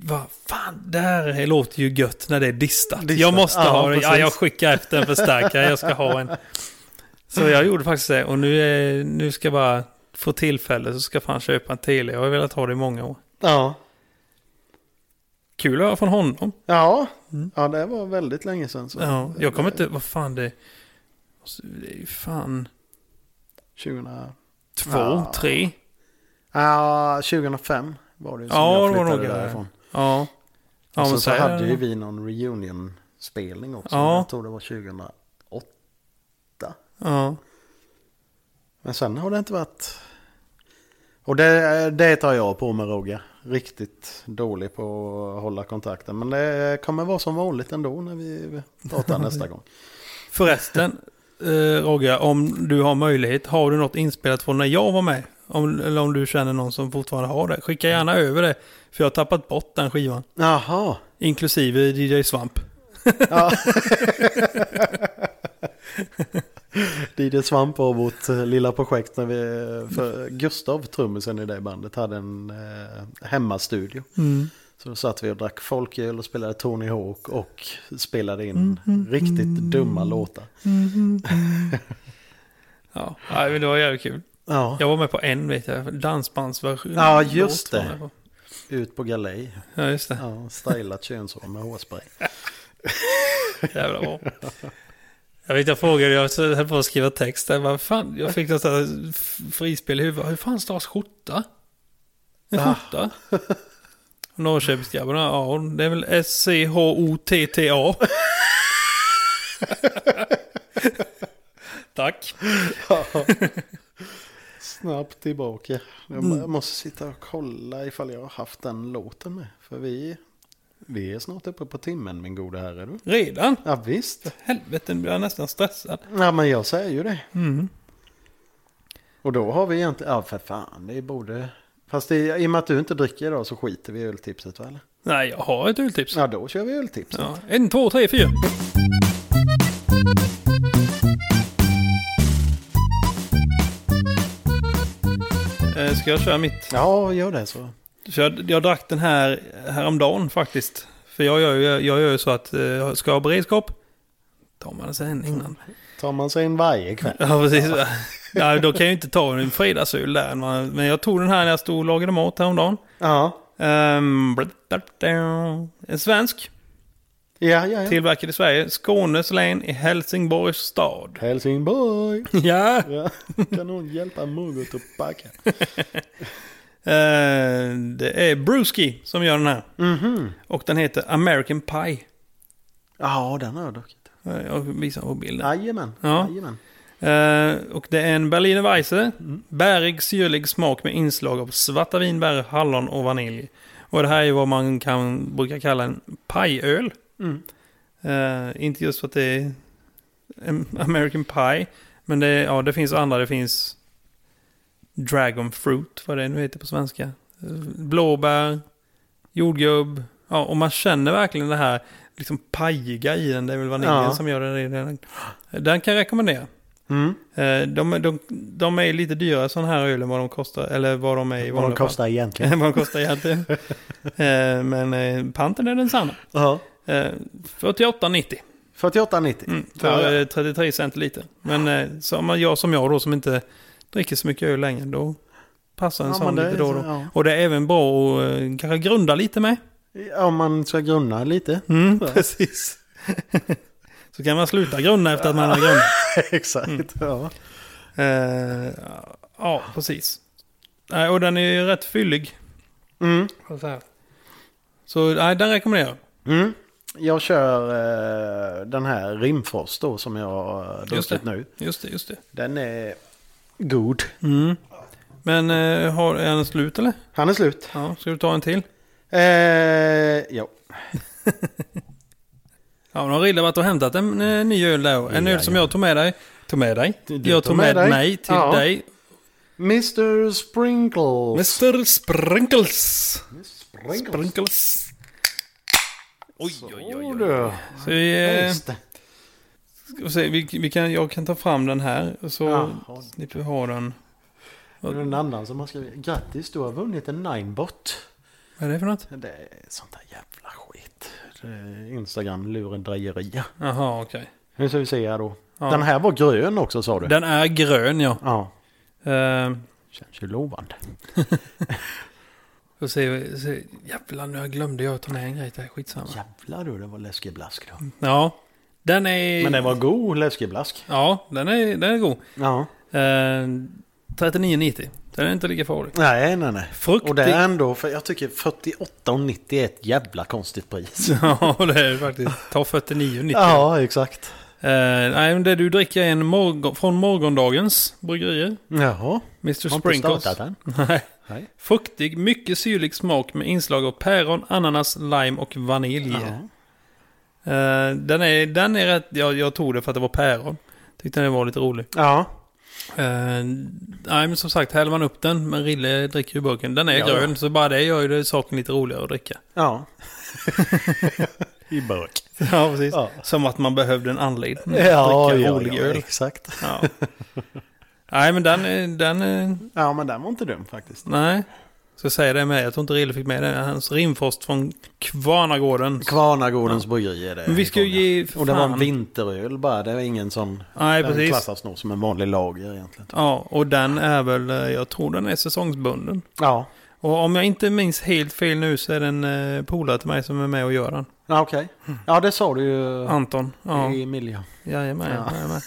Vad fan, det här låter ju gött när det är distat.
Distat,
Jag måste
ja,
ha det. Ja,
precis.
jag skickar efter en förstärkare. Jag ska ha en. Så jag gjorde faktiskt det. Och nu, är, nu ska jag bara få tillfälle så ska jag fan köpa en tele. Jag har velat ha det i många år.
ja.
Kul att höra från honom.
Ja.
Mm.
ja, det var väldigt länge sedan. Så.
Ja, jag kommer inte... Vad fan det... alltså, Det är ju fan...
2000...
Två,
Ja.
tre.
Ja, 2005 var det ju som
Ja,
jag
det var
flyttade
nog det.
därifrån.
Ja. ja
och sen
men
Alltså, så
här-
hade ju vi någon reunion-spelning också.
Ja.
Jag tror det var 2008.
Ja.
Men sen har det inte varit... Och det, det tar jag på med Roger. Riktigt dålig på att hålla kontakten. Men det kommer vara som vanligt ändå när vi pratar nästa gång.
Förresten, eh, Roger, om du har möjlighet, har du något inspelat från när jag var med? Om, eller om du känner någon som fortfarande har det. Skicka gärna
Mm.
över det, för jag har tappat bort den skivan.
Jaha.
Inklusive DJ Svamp.
Ja. DJ Svamp och vårt eh, lilla projekt när vi, för Gustav, trummisen i det bandet, hade en eh, hemmastudio. Så då satt vi och drack folköl och spelade Tony Hawk och spelade in riktigt dumma låtar.
Ja, nej, men det var jävligt kul.
Ja,
Jag var med på en, vet jag, dansbandsversion.
Ja, just
Låt var
det.
jag med på.
ut på galej.
Ja, just det.
Ja, stylat könshår med hårspray.
Jävla bra. Jag vet, jag frågade, jag höll på att skriva text där. Vad fan, jag fick något sånt här f- frispel i huvudet. Hur fan stavas skjorta? En skjorta? Norrköpingsgrabbarna, ja, det är väl S-C-H-O-T-T-A. Tack.
Snabbt tillbaka. Jag
Mm.
bara- måste sitta och kolla ifall jag har haft den låten med. För vi, vi är snart uppe på timmen min gode herre. Du.
Redan?
Ja visst.
Helvete, nu blir jag nästan stressad.
Ja men jag säger ju det.
Mm.
Och då har vi egentligen, ja för fan det borde... Fast det, i och med att du inte dricker idag så skiter vi i öltipset väl?
Nej, jag har ett öltips.
Ja då kör vi öltipset.
Ja. En, två, tre, fyra. Eh, Ska jag köra mitt?
Ja gör det så.
Så jag, jag drack den här häromdagen faktiskt. För jag gör ju jag gör ju så att eh, ska jag ha beredskap tar man sig en innan.
Tar man sig en varje kväll.
Ja, precis. Nej, då kan jag ju inte ta en fredagsöl där. man- Men jag tog den här när jag stod och lagade mat häromdagen.
Ja.
Ehm, blip, blip, blip. en svensk,
Ja, ja, ja.
tillverkad i Sverige, Skånes län i Helsingborgs stad.
Helsingborg.
Ja!
Ja. Kan hon hjälpa Mugot att packa?
Eh, det är Brewski
Mhm.
som gör den här. Och den heter American Pie.
Ja, den har jag druckit.
Jag visar på bilden.
Jajamän.
Ja.
Jajamän.
Eh, och det är en Berliner Weisse.
Mm.
Bärig, syrlig smak med inslag av svarta vinbär, hallon och vanilj. Och det här är vad man kan brukar kalla en pajöl.
Mm.
Eh, inte just för att det är en American Pie. Men det, är- ja, det finns andra. Det finns Dragon Fruit, vad det nu heter på svenska. Eh, Blåbär, jordgubb. Ja, och man känner verkligen det här liksom pajiga i den. Det är väl vaniljen
Ja.
som gör det. Den- Den kan jag rekommendera.
Mm.
Eh, De, de, de är lite dyrare sådana här öl än vad de kostar. Eller vad de är i
Vad de
vanliga fall.
kostar egentligen.
vad de kostar egentligen. Eh, Men eh, panten är densamma.
Ja.
Eh, 48,90.
48,90.
Mm,
Ja,
för
ja.
eh, 33 cent liter. Men eh, som jag som jag då som inte dricker så mycket öl längre då passar en
Ja,
sån
men det
lite
är
då och
så-
då.
ja.
Och det är även bra att eh, kanske grunda lite med.
Ja, Om man ska grunna lite.
Mm, precis. så kan man sluta grunda efter att man har grundat.
Exakt. Ja.
Eh, ja, precis. Nej, och den är ju rätt fyllig.
Mm.
Så, här. så nej, den rekommenderar jag.
Mm. Jag kör eh, den här Rimfrost då som jag har
Just det.
druckit nu.
Just det, just det.
Den är god.
Mm. Men eh, har, är den slut eller?
Han är slut.
Ja, ska du ta en till?
Eh, ja.
Ja, men har Rille varit och hämtat en eh, ny öl där. En öl som jag tog med dig. Tog med dig.
Du- du
jag tog med,
dig.
mig till
Ja.
dig.
Mr Sprinkles.
Mr Sprinkles.
Sprinkles.
Sprinkles. Oj, oj, oj.
Åh,
oj.
du.
Så vi, eh,
Just det.
ska vi se, vi, vi kan, jag kan ta fram den här. och Så
Jaha.
slipper vi ha den.
Det är en annan som har skrivit. Grattis, du har vunnit en Ninebot.
Vad är det för något?
Det är sånt där jävla skit. Det är Instagram lurendrejeri.
Jaha, okej.
Nu ska vi se här då.
Ja.
Den här var grön också sa du.
Den är grön, ja.
Ja.
Uh,
Känns ju lovande.
och se, se, jävlar, nu glömde jag att ta med en grej. Det är skitsamma. Ja.
Jävlar du, det var läskeblask då.
den är...
Mm. Men det var god läskeblask.
Ja, den är, den är god.
Ja.
Eh, 39,90. Den är inte lika farlig.
Nej, nej, nej.
Fruktig.
Och det är ändå, för jag tycker 48,90 är ett jävla konstigt pris.
ja, det är det faktiskt. Ta 49,90.
ja, exakt.
Eh, nej, men det du dricker är en morgon, från morgondagens bryggerier.
Jaha.
Mr
Har inte
Sprinkles.
startat än.
Nej.
Nej.
Fruktig, mycket syrlig smak med inslag av päron, ananas, lime och vanilj.
Ja.
Eh, den, är, den är rätt... Jag, jag tog det för att det var päron. Tyckte den var lite rolig.
Ja.
Eh, nej, men som sagt, häller man upp den, men Rille dricker ju burken. Den är
Ja.
grön, så bara det gör ju det saken lite roligare att dricka.
Ja. I burk.
Ja, precis.
Ja.
Som att man behövde en anledning att
Ja,
dricka
ja,
rolig
ja,
öl.
exakt.
Ja. Nej, men den är... Den är
Ja, men den var inte dum faktiskt.
nej. Ska säga det med. Jag tror inte Rille fick med det. Hans rimfrost från Kvarnagården.
Kvarnagårdens bryggeri är det.
Men vi ska ju ge...
Och det var en
fan.
vinteröl bara. Det var ingen sån...
Nej,
den
precis.
klassas nog som en vanlig lager egentligen.
Ja, och den är väl... eh, Jag tror den är säsongsbunden.
Ja.
Och om jag inte minns helt fel nu så är det en eh, polare till mig som är med och gör den.
Ja, okej. Ja, det sa du ju.
Anton. Ja,
I Emilia.
jajamän.
Ja.
jajamän.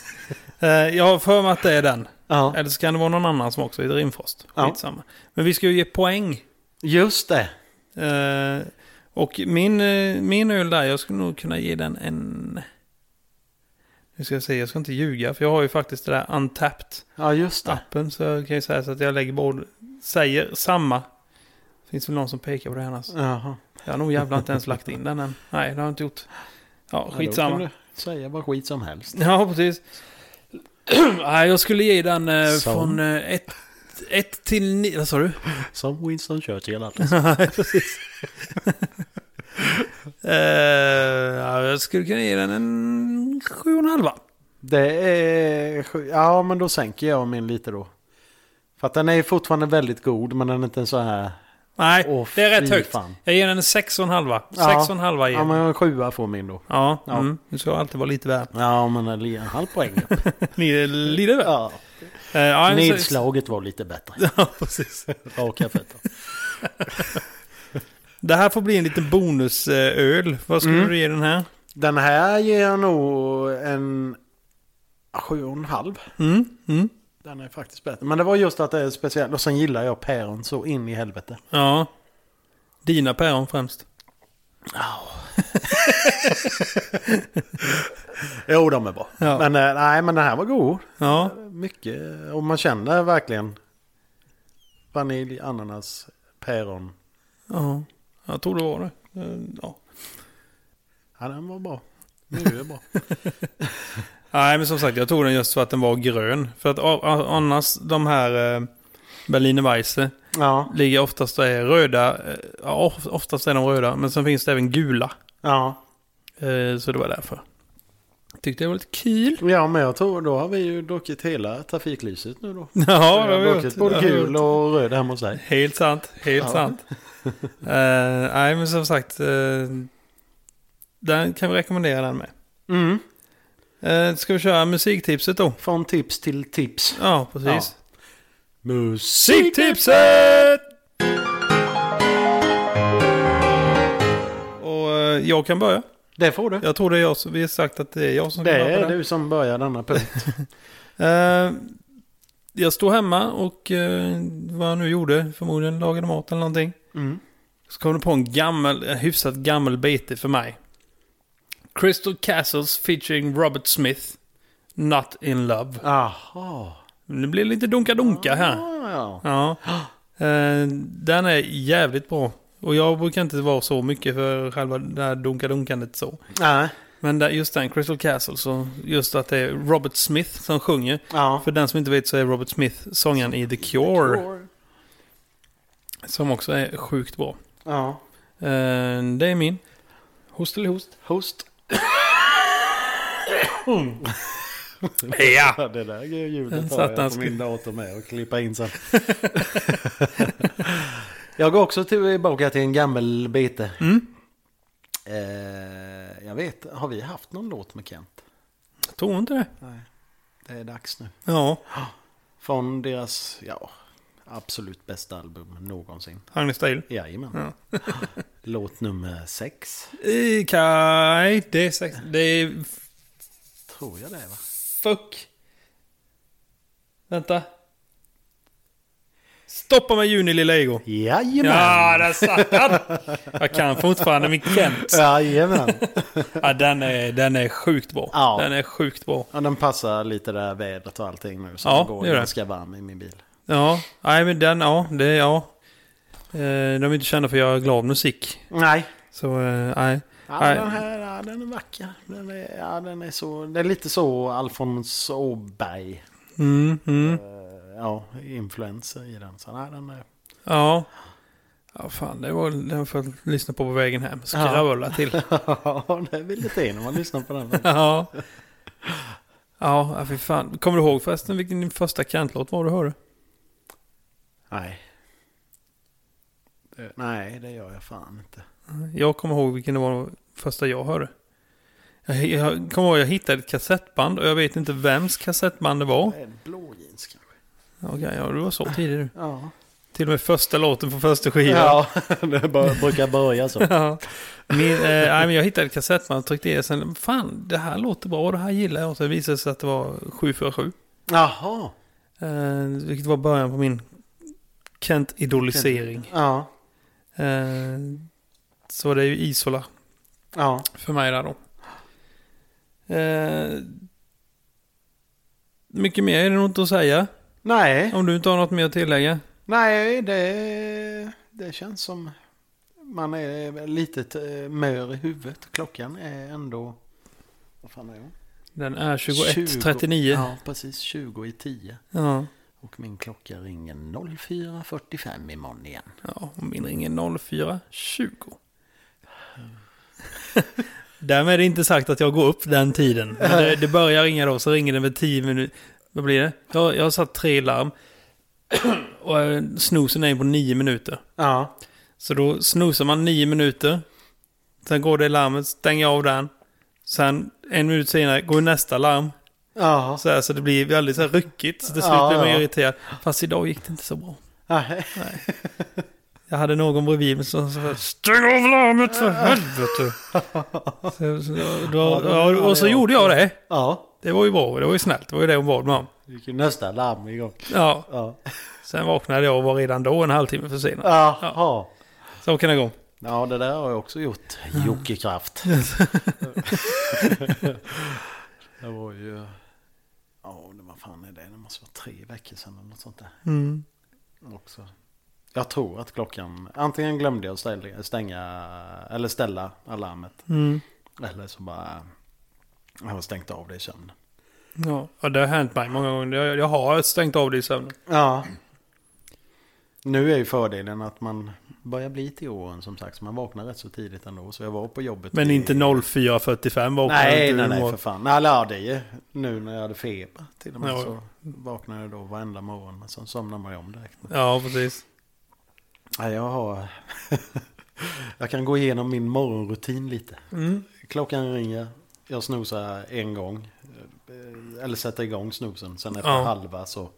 Eh, Jag har för mig att det är den.
Ja.
Eller så kan det vara någon annan som också heter Rimfrost.
Ja.
Skitsamma. Men vi ska ju ge poäng.
Just det.
Eh, och min, eh, min öl där, jag skulle nog kunna ge den en... Nu ska jag se, jag ska inte ljuga. För jag har ju faktiskt det där Untapped-appen.
Ja, just det.
Så jag kan ju säga så att jag lägger både... Säger samma. Finns väl någon som pekar på det annars?
Jaha.
Jag har nog jävla inte ens lagt in den än. Nej, det har jag inte gjort. Ja,
Ja,
skitsamma.
då kan du säga vad skit som helst.
Ja, precis. Nej, jag skulle ge den eh,
Så.
från 1 ett till 9. Vad sa du?
Som Winston Churchill alltid.
Nej, precis. Eh, ja, jag skulle kunna ge den en sju och en halva.
Det är... sju- Ja, men då sänker jag min lite då. För att den är fortfarande väldigt god, men den är inte så här...
Nej,
Åh,
det är rätt
fy
högt.
fan.
Jag ger den en sex och en halva.
Ja.
Sex och en halva ger
Ja,
jag.
men en sjua får min då.
Ja,
Ja.
Mm, du ska alltid vara lite värd.
Ja, men en li- en halv poäng.
Lite, lite värd.
ja.
Eh, ja, en sex-
Nedslaget var lite bättre.
Ja, precis.
Raka fötter.
Det här får bli en liten bonusöl. Vad skulle
Mm.
du ge den här?
Den här ger jag nog en sju och en halv.
Mm, mm.
Den är faktiskt bättre. Men det var just att det är speciellt. Och sen gillar jag päron så in i helvete.
Ja. Dina päron främst.
Jo, de är bra.
Ja.
Men eh, nej, men den här var god.
Ja,
Mycket. Och man känner verkligen vanilj, ananas, päron.
ja. jag tror det var det. Eh, Ja.
Ja, den var bra. Nu är det bra.
Nej, men som sagt, jag tog den just för att den var grön. För att a- a- annars, de här eh, Berliner Weisse
Ja,
ligger oftast är röda. eh, Ja, of- oftast är de röda, men sen finns det även gula.
ja.
Eh, så det var därför. Tyckte det var lite kul.
ja, men jag tror då har vi ju druckit hela trafiklyset nu då.
Ja,
vi har druckit både
Det har vi
gul och röd hemma hos dig.
Helt sant, helt
Ja.
sant. Eh, nej, men som sagt. eh, den kan vi rekommendera den med.
Mm.
Eh, ska vi köra musiktipset då?
Från tips till tips.
Ja, precis.
Musiktipset!
Och eh, jag kan börja.
Det får du.
Jag tror det är jag som, vi har sagt att det är jag som
Det
ska börja på
är
den.
du som börjar denna punkt.
Eh, jag stod hemma och eh, vad jag nu gjorde, förmodligen lagade mat eller någonting.
Mm.
Så kom det på en gammal, en hyfsat gammal bete för mig. Crystal Castles featuring Robert Smith. Not in love.
Jaha.
Det blir lite dunka-dunka här.
Ja, ja.
Ja. Eh, den är jävligt bra. Och jag brukar inte vara så mycket för själva det här dunka-dunkandet så.
Nej.
Men där, just den, Crystal Castle, så just att det är Robert Smith som sjunger.
Ja.
För den som inte vet så är Robert Smith sångaren i The Cure. Som också är sjukt bra.
Ja.
Eh, det är min. Host eller host?
Host.
Mm. Ja!
Det där ljudet
Den
har
satt
jag
han
på
sk-
min dator med och klippa in sen. jag går också tillbaka till en gammal bete.
Mm.
Eh, jag vet, har vi haft någon låt med Kent?
Jag tror inte det.
Det är dags nu.
Ja,
Från deras, ja, absolut bästa album någonsin.
Agnes Style.
Jajamän. Låt nummer sex,
I Kaj, det är sex... Det är...
tror jag det är va?
Fuck. Vänta. Stoppa mig juni lilla ego.
Jajamän!
Ja, där satt han! Jag kan fortfarande min Kent.
Jajamän!
Ja, den är, den är sjukt bra.
Ja.
Den är sjukt bra.
Ja, den passar lite det här vädret och allting nu. Så
Ja,
den går
det gör det.
ganska varm i min bil.
Ja, nej men den, ja, det, ja. Eh, De är inte kända för att göra glad musik.
Nej,
Så, eh, nej.
Ja,
Nej.
den här ja, den är vacker. Den är, ja, den är, så, den är lite så Alfons Åberg.
Mm, mm.
eh, Ja, influenser i den. Så, nej, den är,
Ja. Ja, fan, det var den får jag lyssna på på vägen hem. Skravla till.
ja, det vill lite in när man lyssnar på den.
Ja. Ja, ja, fy fan. Kommer du ihåg förresten vilken din första kantlåt var du hörde?
Nej. Det- Nej, det gör jag fan inte.
Jag kommer ihåg vilken det var första jag hörde. Jag, jag kommer ihåg jag hittade ett kassettband och jag vet inte vems kassettband det var.
Det är Blå jeans kanske.
Okej, ja, du var så tidig du.
Ja,
Till och med första låten från första skivan.
ja det bara, brukar börja så.
Ja. Min, eh, nej, men jag hittade ett kassettband och tryckte i det. Sen, fan, det här låter bra, det här gillar jag. Och så visade det sig att det var 747.
Jaha.
Eh, vilket var början på min Kent-idolisering.
Ja,
Eh, så det är ju Isola
ja.
för mig där då. Eh, mycket mer är det nog inte att säga.
Nej.
Om du inte har något mer att tillägga.
Nej, det, det känns som man är lite eh, mör i huvudet. Klockan är ändå... Vad fan är hon?
Den är
20.
21.39.
Ja, precis. 20 i 10.
Ja.
Och min klocka ringer 04.45 imorgon igen.
Ja, och min ringer 0420. Därmed är det inte sagt att jag går upp den tiden. Men det, det börjar ringa då, så ringer det med 10 minuter. Vad blir det? Jag, jag har satt tre larm. Och eh, snosen är på 9 minuter.
Ja.
Så då snosar man 9 minuter. Sen går det larmet, stänger jag av den. Sen en minut senare går nästa larm.
Ja.
Så, här, så det blir väldigt så här ryckigt. Så till slut
Ja,
blir man
ja.
irriterad. Fast idag gick det inte så bra.
Nej.
Jag hade någon bredvid mig som sa Stäng av larmet för helvete! så, så, då,
Ja, det var
ja, och så
jag.
gjorde jag det.
Ja.
Det var ju bra, det var ju snällt. Det var ju det hon bad mig om.
Det gick ju nästa larm igång.
Ja,
Ja.
sen vaknade jag och var redan då en halvtimme försenad.
Jaha.
Så kan det gå.
Ja, det där har jag också gjort. Jocke Kraft. det var ju... Ja, det vad fan är det? Det måste vara tre veckor sedan eller något sånt där.
Mm.
Också. Jag tror att klockan... Antingen glömde jag ställa, stänga, eller ställa alarmet.
Mm.
Eller så bara... Jag har stängt av det i sömnen.
Ja. ja, det har hänt mig många gånger. Jag, jag har stängt av det i sömnen.
Ja. Nu är ju fördelen att man börjar bli till åren som sagt. Så man vaknar rätt så tidigt ändå. Så jag var på jobbet.
Men
i-
inte 04.45 var
Nej,
inte
nej, nej
imorgon.
för fan. Nej, eller, ja, det är ju nu när jag hade feber till och med.
Ja.
Så vaknade jag då varenda morgon. Men sen somnade man ju om direkt.
Ja, precis.
Nej, jag har... jag kan gå igenom min morgonrutin lite.
Mm.
Klockan ringer. Jag snosar en gång. Eh, Eller sätter igång snosen. Sen efter
Ja.
halva så...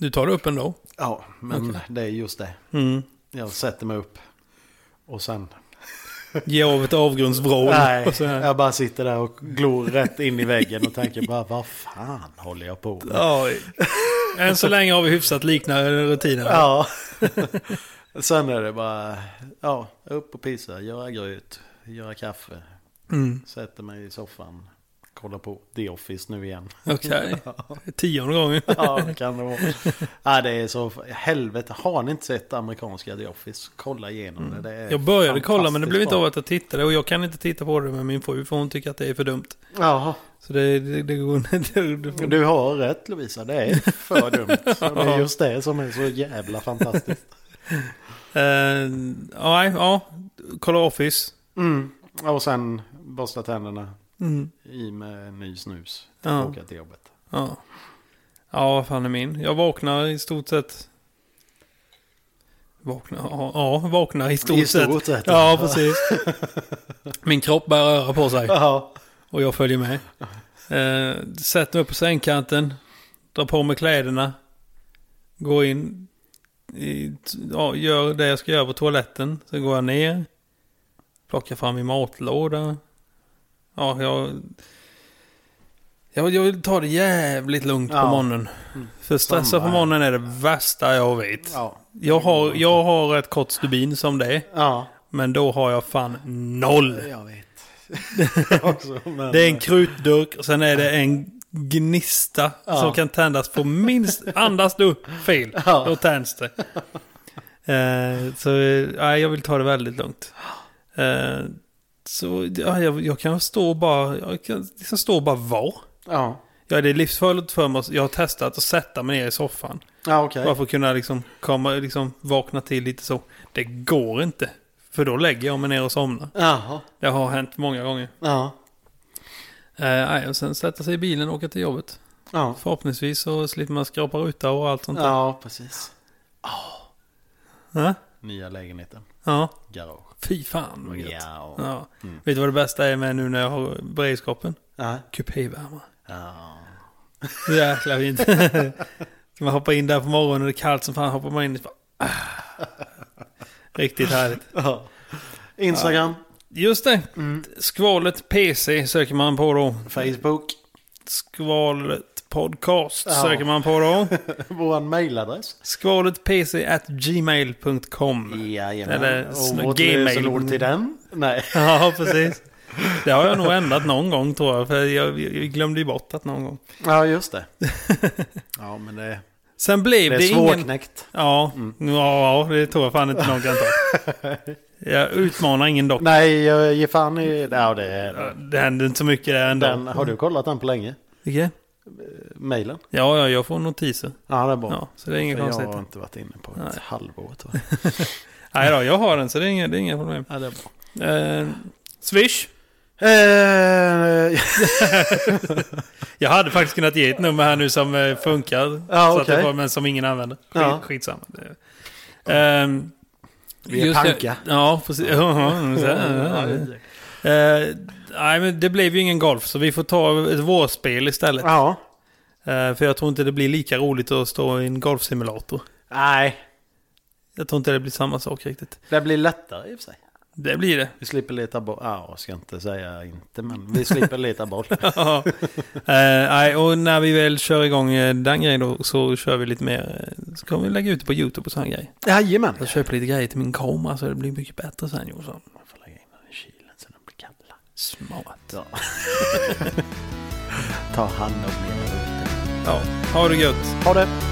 Du tar det upp ändå.
Ja, men det är just det.
Mm.
Jag sätter mig upp. Och sen...
Ge av ett avgrundsvrål.
Nej,
och så här.
jag bara sitter där och glor rätt in i väggen och tänker bara vad fan håller jag på med?
Ja. Än så länge har vi hyfsat liknande rutiner.
Ja. Sen är det bara, ja, upp och pissa, göra gröt, göra kaffe,
Mm.
sätter mig i soffan, kollar på The Office nu igen.
Okej. Tionde gången.
Ja, det kan det vara. Ja, det är så, helvete, har ni inte sett amerikanska The Office, kolla igenom det. det är
Mm. Jag började kolla men det blev inte av
fantastiskt
att jag tittade och jag kan inte titta på det med min fru för hon tycker att det är för dumt.
bra. Jaha.
Så det, det, det går inte.
Du har rätt Lovisa, det är för dumt. Så Det är just det som är så jävla fantastiskt.
Uh, nej, ja. Kolla Office.
Mm. Och sen borsta tänderna,
Mm.
i med ny snus,
Ja.
åka till jobbet.
Ja. ja, vad fan är min? Jag vaknar i stort sett... Vaknar? Ja, ja, vaknar i stort,
I stort sett.
Ja, precis. Min kropp börjar röra på sig
Ja.
och jag följer med. Eh, sätter mig upp på sängkanten, drar på mig kläderna, går in, i, ja, gör det jag ska göra på toaletten. Sen går jag ner, plockar fram min matlåda. Ja, jag... Jag, jag vill ta det jävligt lugnt
Ja.
på morgonen. För stressa
Samma
på
här.
morgonen är det värsta jag vet.
Ja.
Jag, har, jag har ett kort stubin som det är,
Ja,
men då har jag fan noll.
jag vet. Också, men,
Det är en krutdurk och sen är det en gnista
Ja.
som kan tändas på minst... Andas du fel,
Ja.
då tänds det. Eh, så eh, nej, jag vill ta det väldigt lugnt. Eh, så ja, jag, jag kan stå och bara... Jag kan liksom stå och bara vara.
Ja,
Ja, det är livsfarligt för mig. att- Jag har testat att sätta mig ner i soffan.
ja okej.
Bara för att kunna liksom, komma, liksom vakna till lite så. Det går inte. För då lägger jag mig ner och somnar.
Jaha,
Det har hänt många gånger.
ja.
Eh, nej, och sen sätta sig i bilen och åka till jobbet.
Ja,
Förhoppningsvis så slipper man skrapa ruta och allt sånt där.
ja precis.
Ja.
Nya lägenheten,
ja.
garage.
Fy fan vad gött.
Ja. Mm. Ja.
Ja. Vet du vad det bästa är med nu när jag har beredskapen?
Ja.
Kupévärmare.
Ja.
Jäklar fint. Ska man hoppa in där på morgonen och det är kallt som fan hoppar man in och bara, ah. Riktigt härligt.
Instagram,
Just det. Skvalet PC söker man på då.
Mm. Facebook,
Skvalet podcast
Ja.
söker man på då.
vår mailadress.
Skvalet PC at gmail.com.
Jajamän.
Eller
Och
sn-
vårt
Gmail.
lösenord till den. Nej.
Ja, precis. Det har jag nog ändrat någon gång tror jag. För jag, jag glömde ju bort att någon gång.
Ja, just det. Ja, men det,
Sen blev
det
det,
är Mm.
ingen...
svårknäckt.
Ja, ja, det tror jag fan inte någon kan ta. Jag utmanar ingen dock.
Nej, jag ger fan i... Ja, det är...
Det händer inte så mycket där ändå.
Den, har du kollat den på länge?
Okej.
Mailen?
Ja, ja, jag får notiser.
Ja, det är bra.
Ja, så det är inget
För
konstigt.
Jag har inte varit inne på ett
Nej.
halvår tror jag.
Nej då, jag har den så det är inga, det är inga problem.
Ja, det är bra.
Eh, Swish.
Eh,
Jag hade faktiskt kunnat ge ett nummer här nu som eh, funkar.
Ja,
så att det
Ah, okej.
var, men som ingen använder. Skit,
Ja.
Skitsamma. Um,
Vi är panka.
Ja, precis. Eh, nej, men det blev ju ingen golf, så vi får ta ett vårspel istället.
ja.
Eh, för jag tror inte det blir lika roligt att stå i en golfsimulator.
Nej,
Jag tror inte det blir samma sak riktigt.
det blir lättare i och för sig.
Det blir det.
Vi slipper leta boll. Ja, jag ska inte säga inte, men vi slipper leta boll.
Ja. Eh, nej, och när vi väl kör igång eh, den grejen då, så kör vi lite mer eh, Så kommer vi lägga ut det på YouTube och sån grej.
Jajamän.
Jag köper lite grejer till min kamera så det blir mycket bättre sen Jossan.
Man får lägga in den i kylen så den blir kall.
Smart.
Ja. Ta hand om er.
Ja, ha det gött.
Ha det.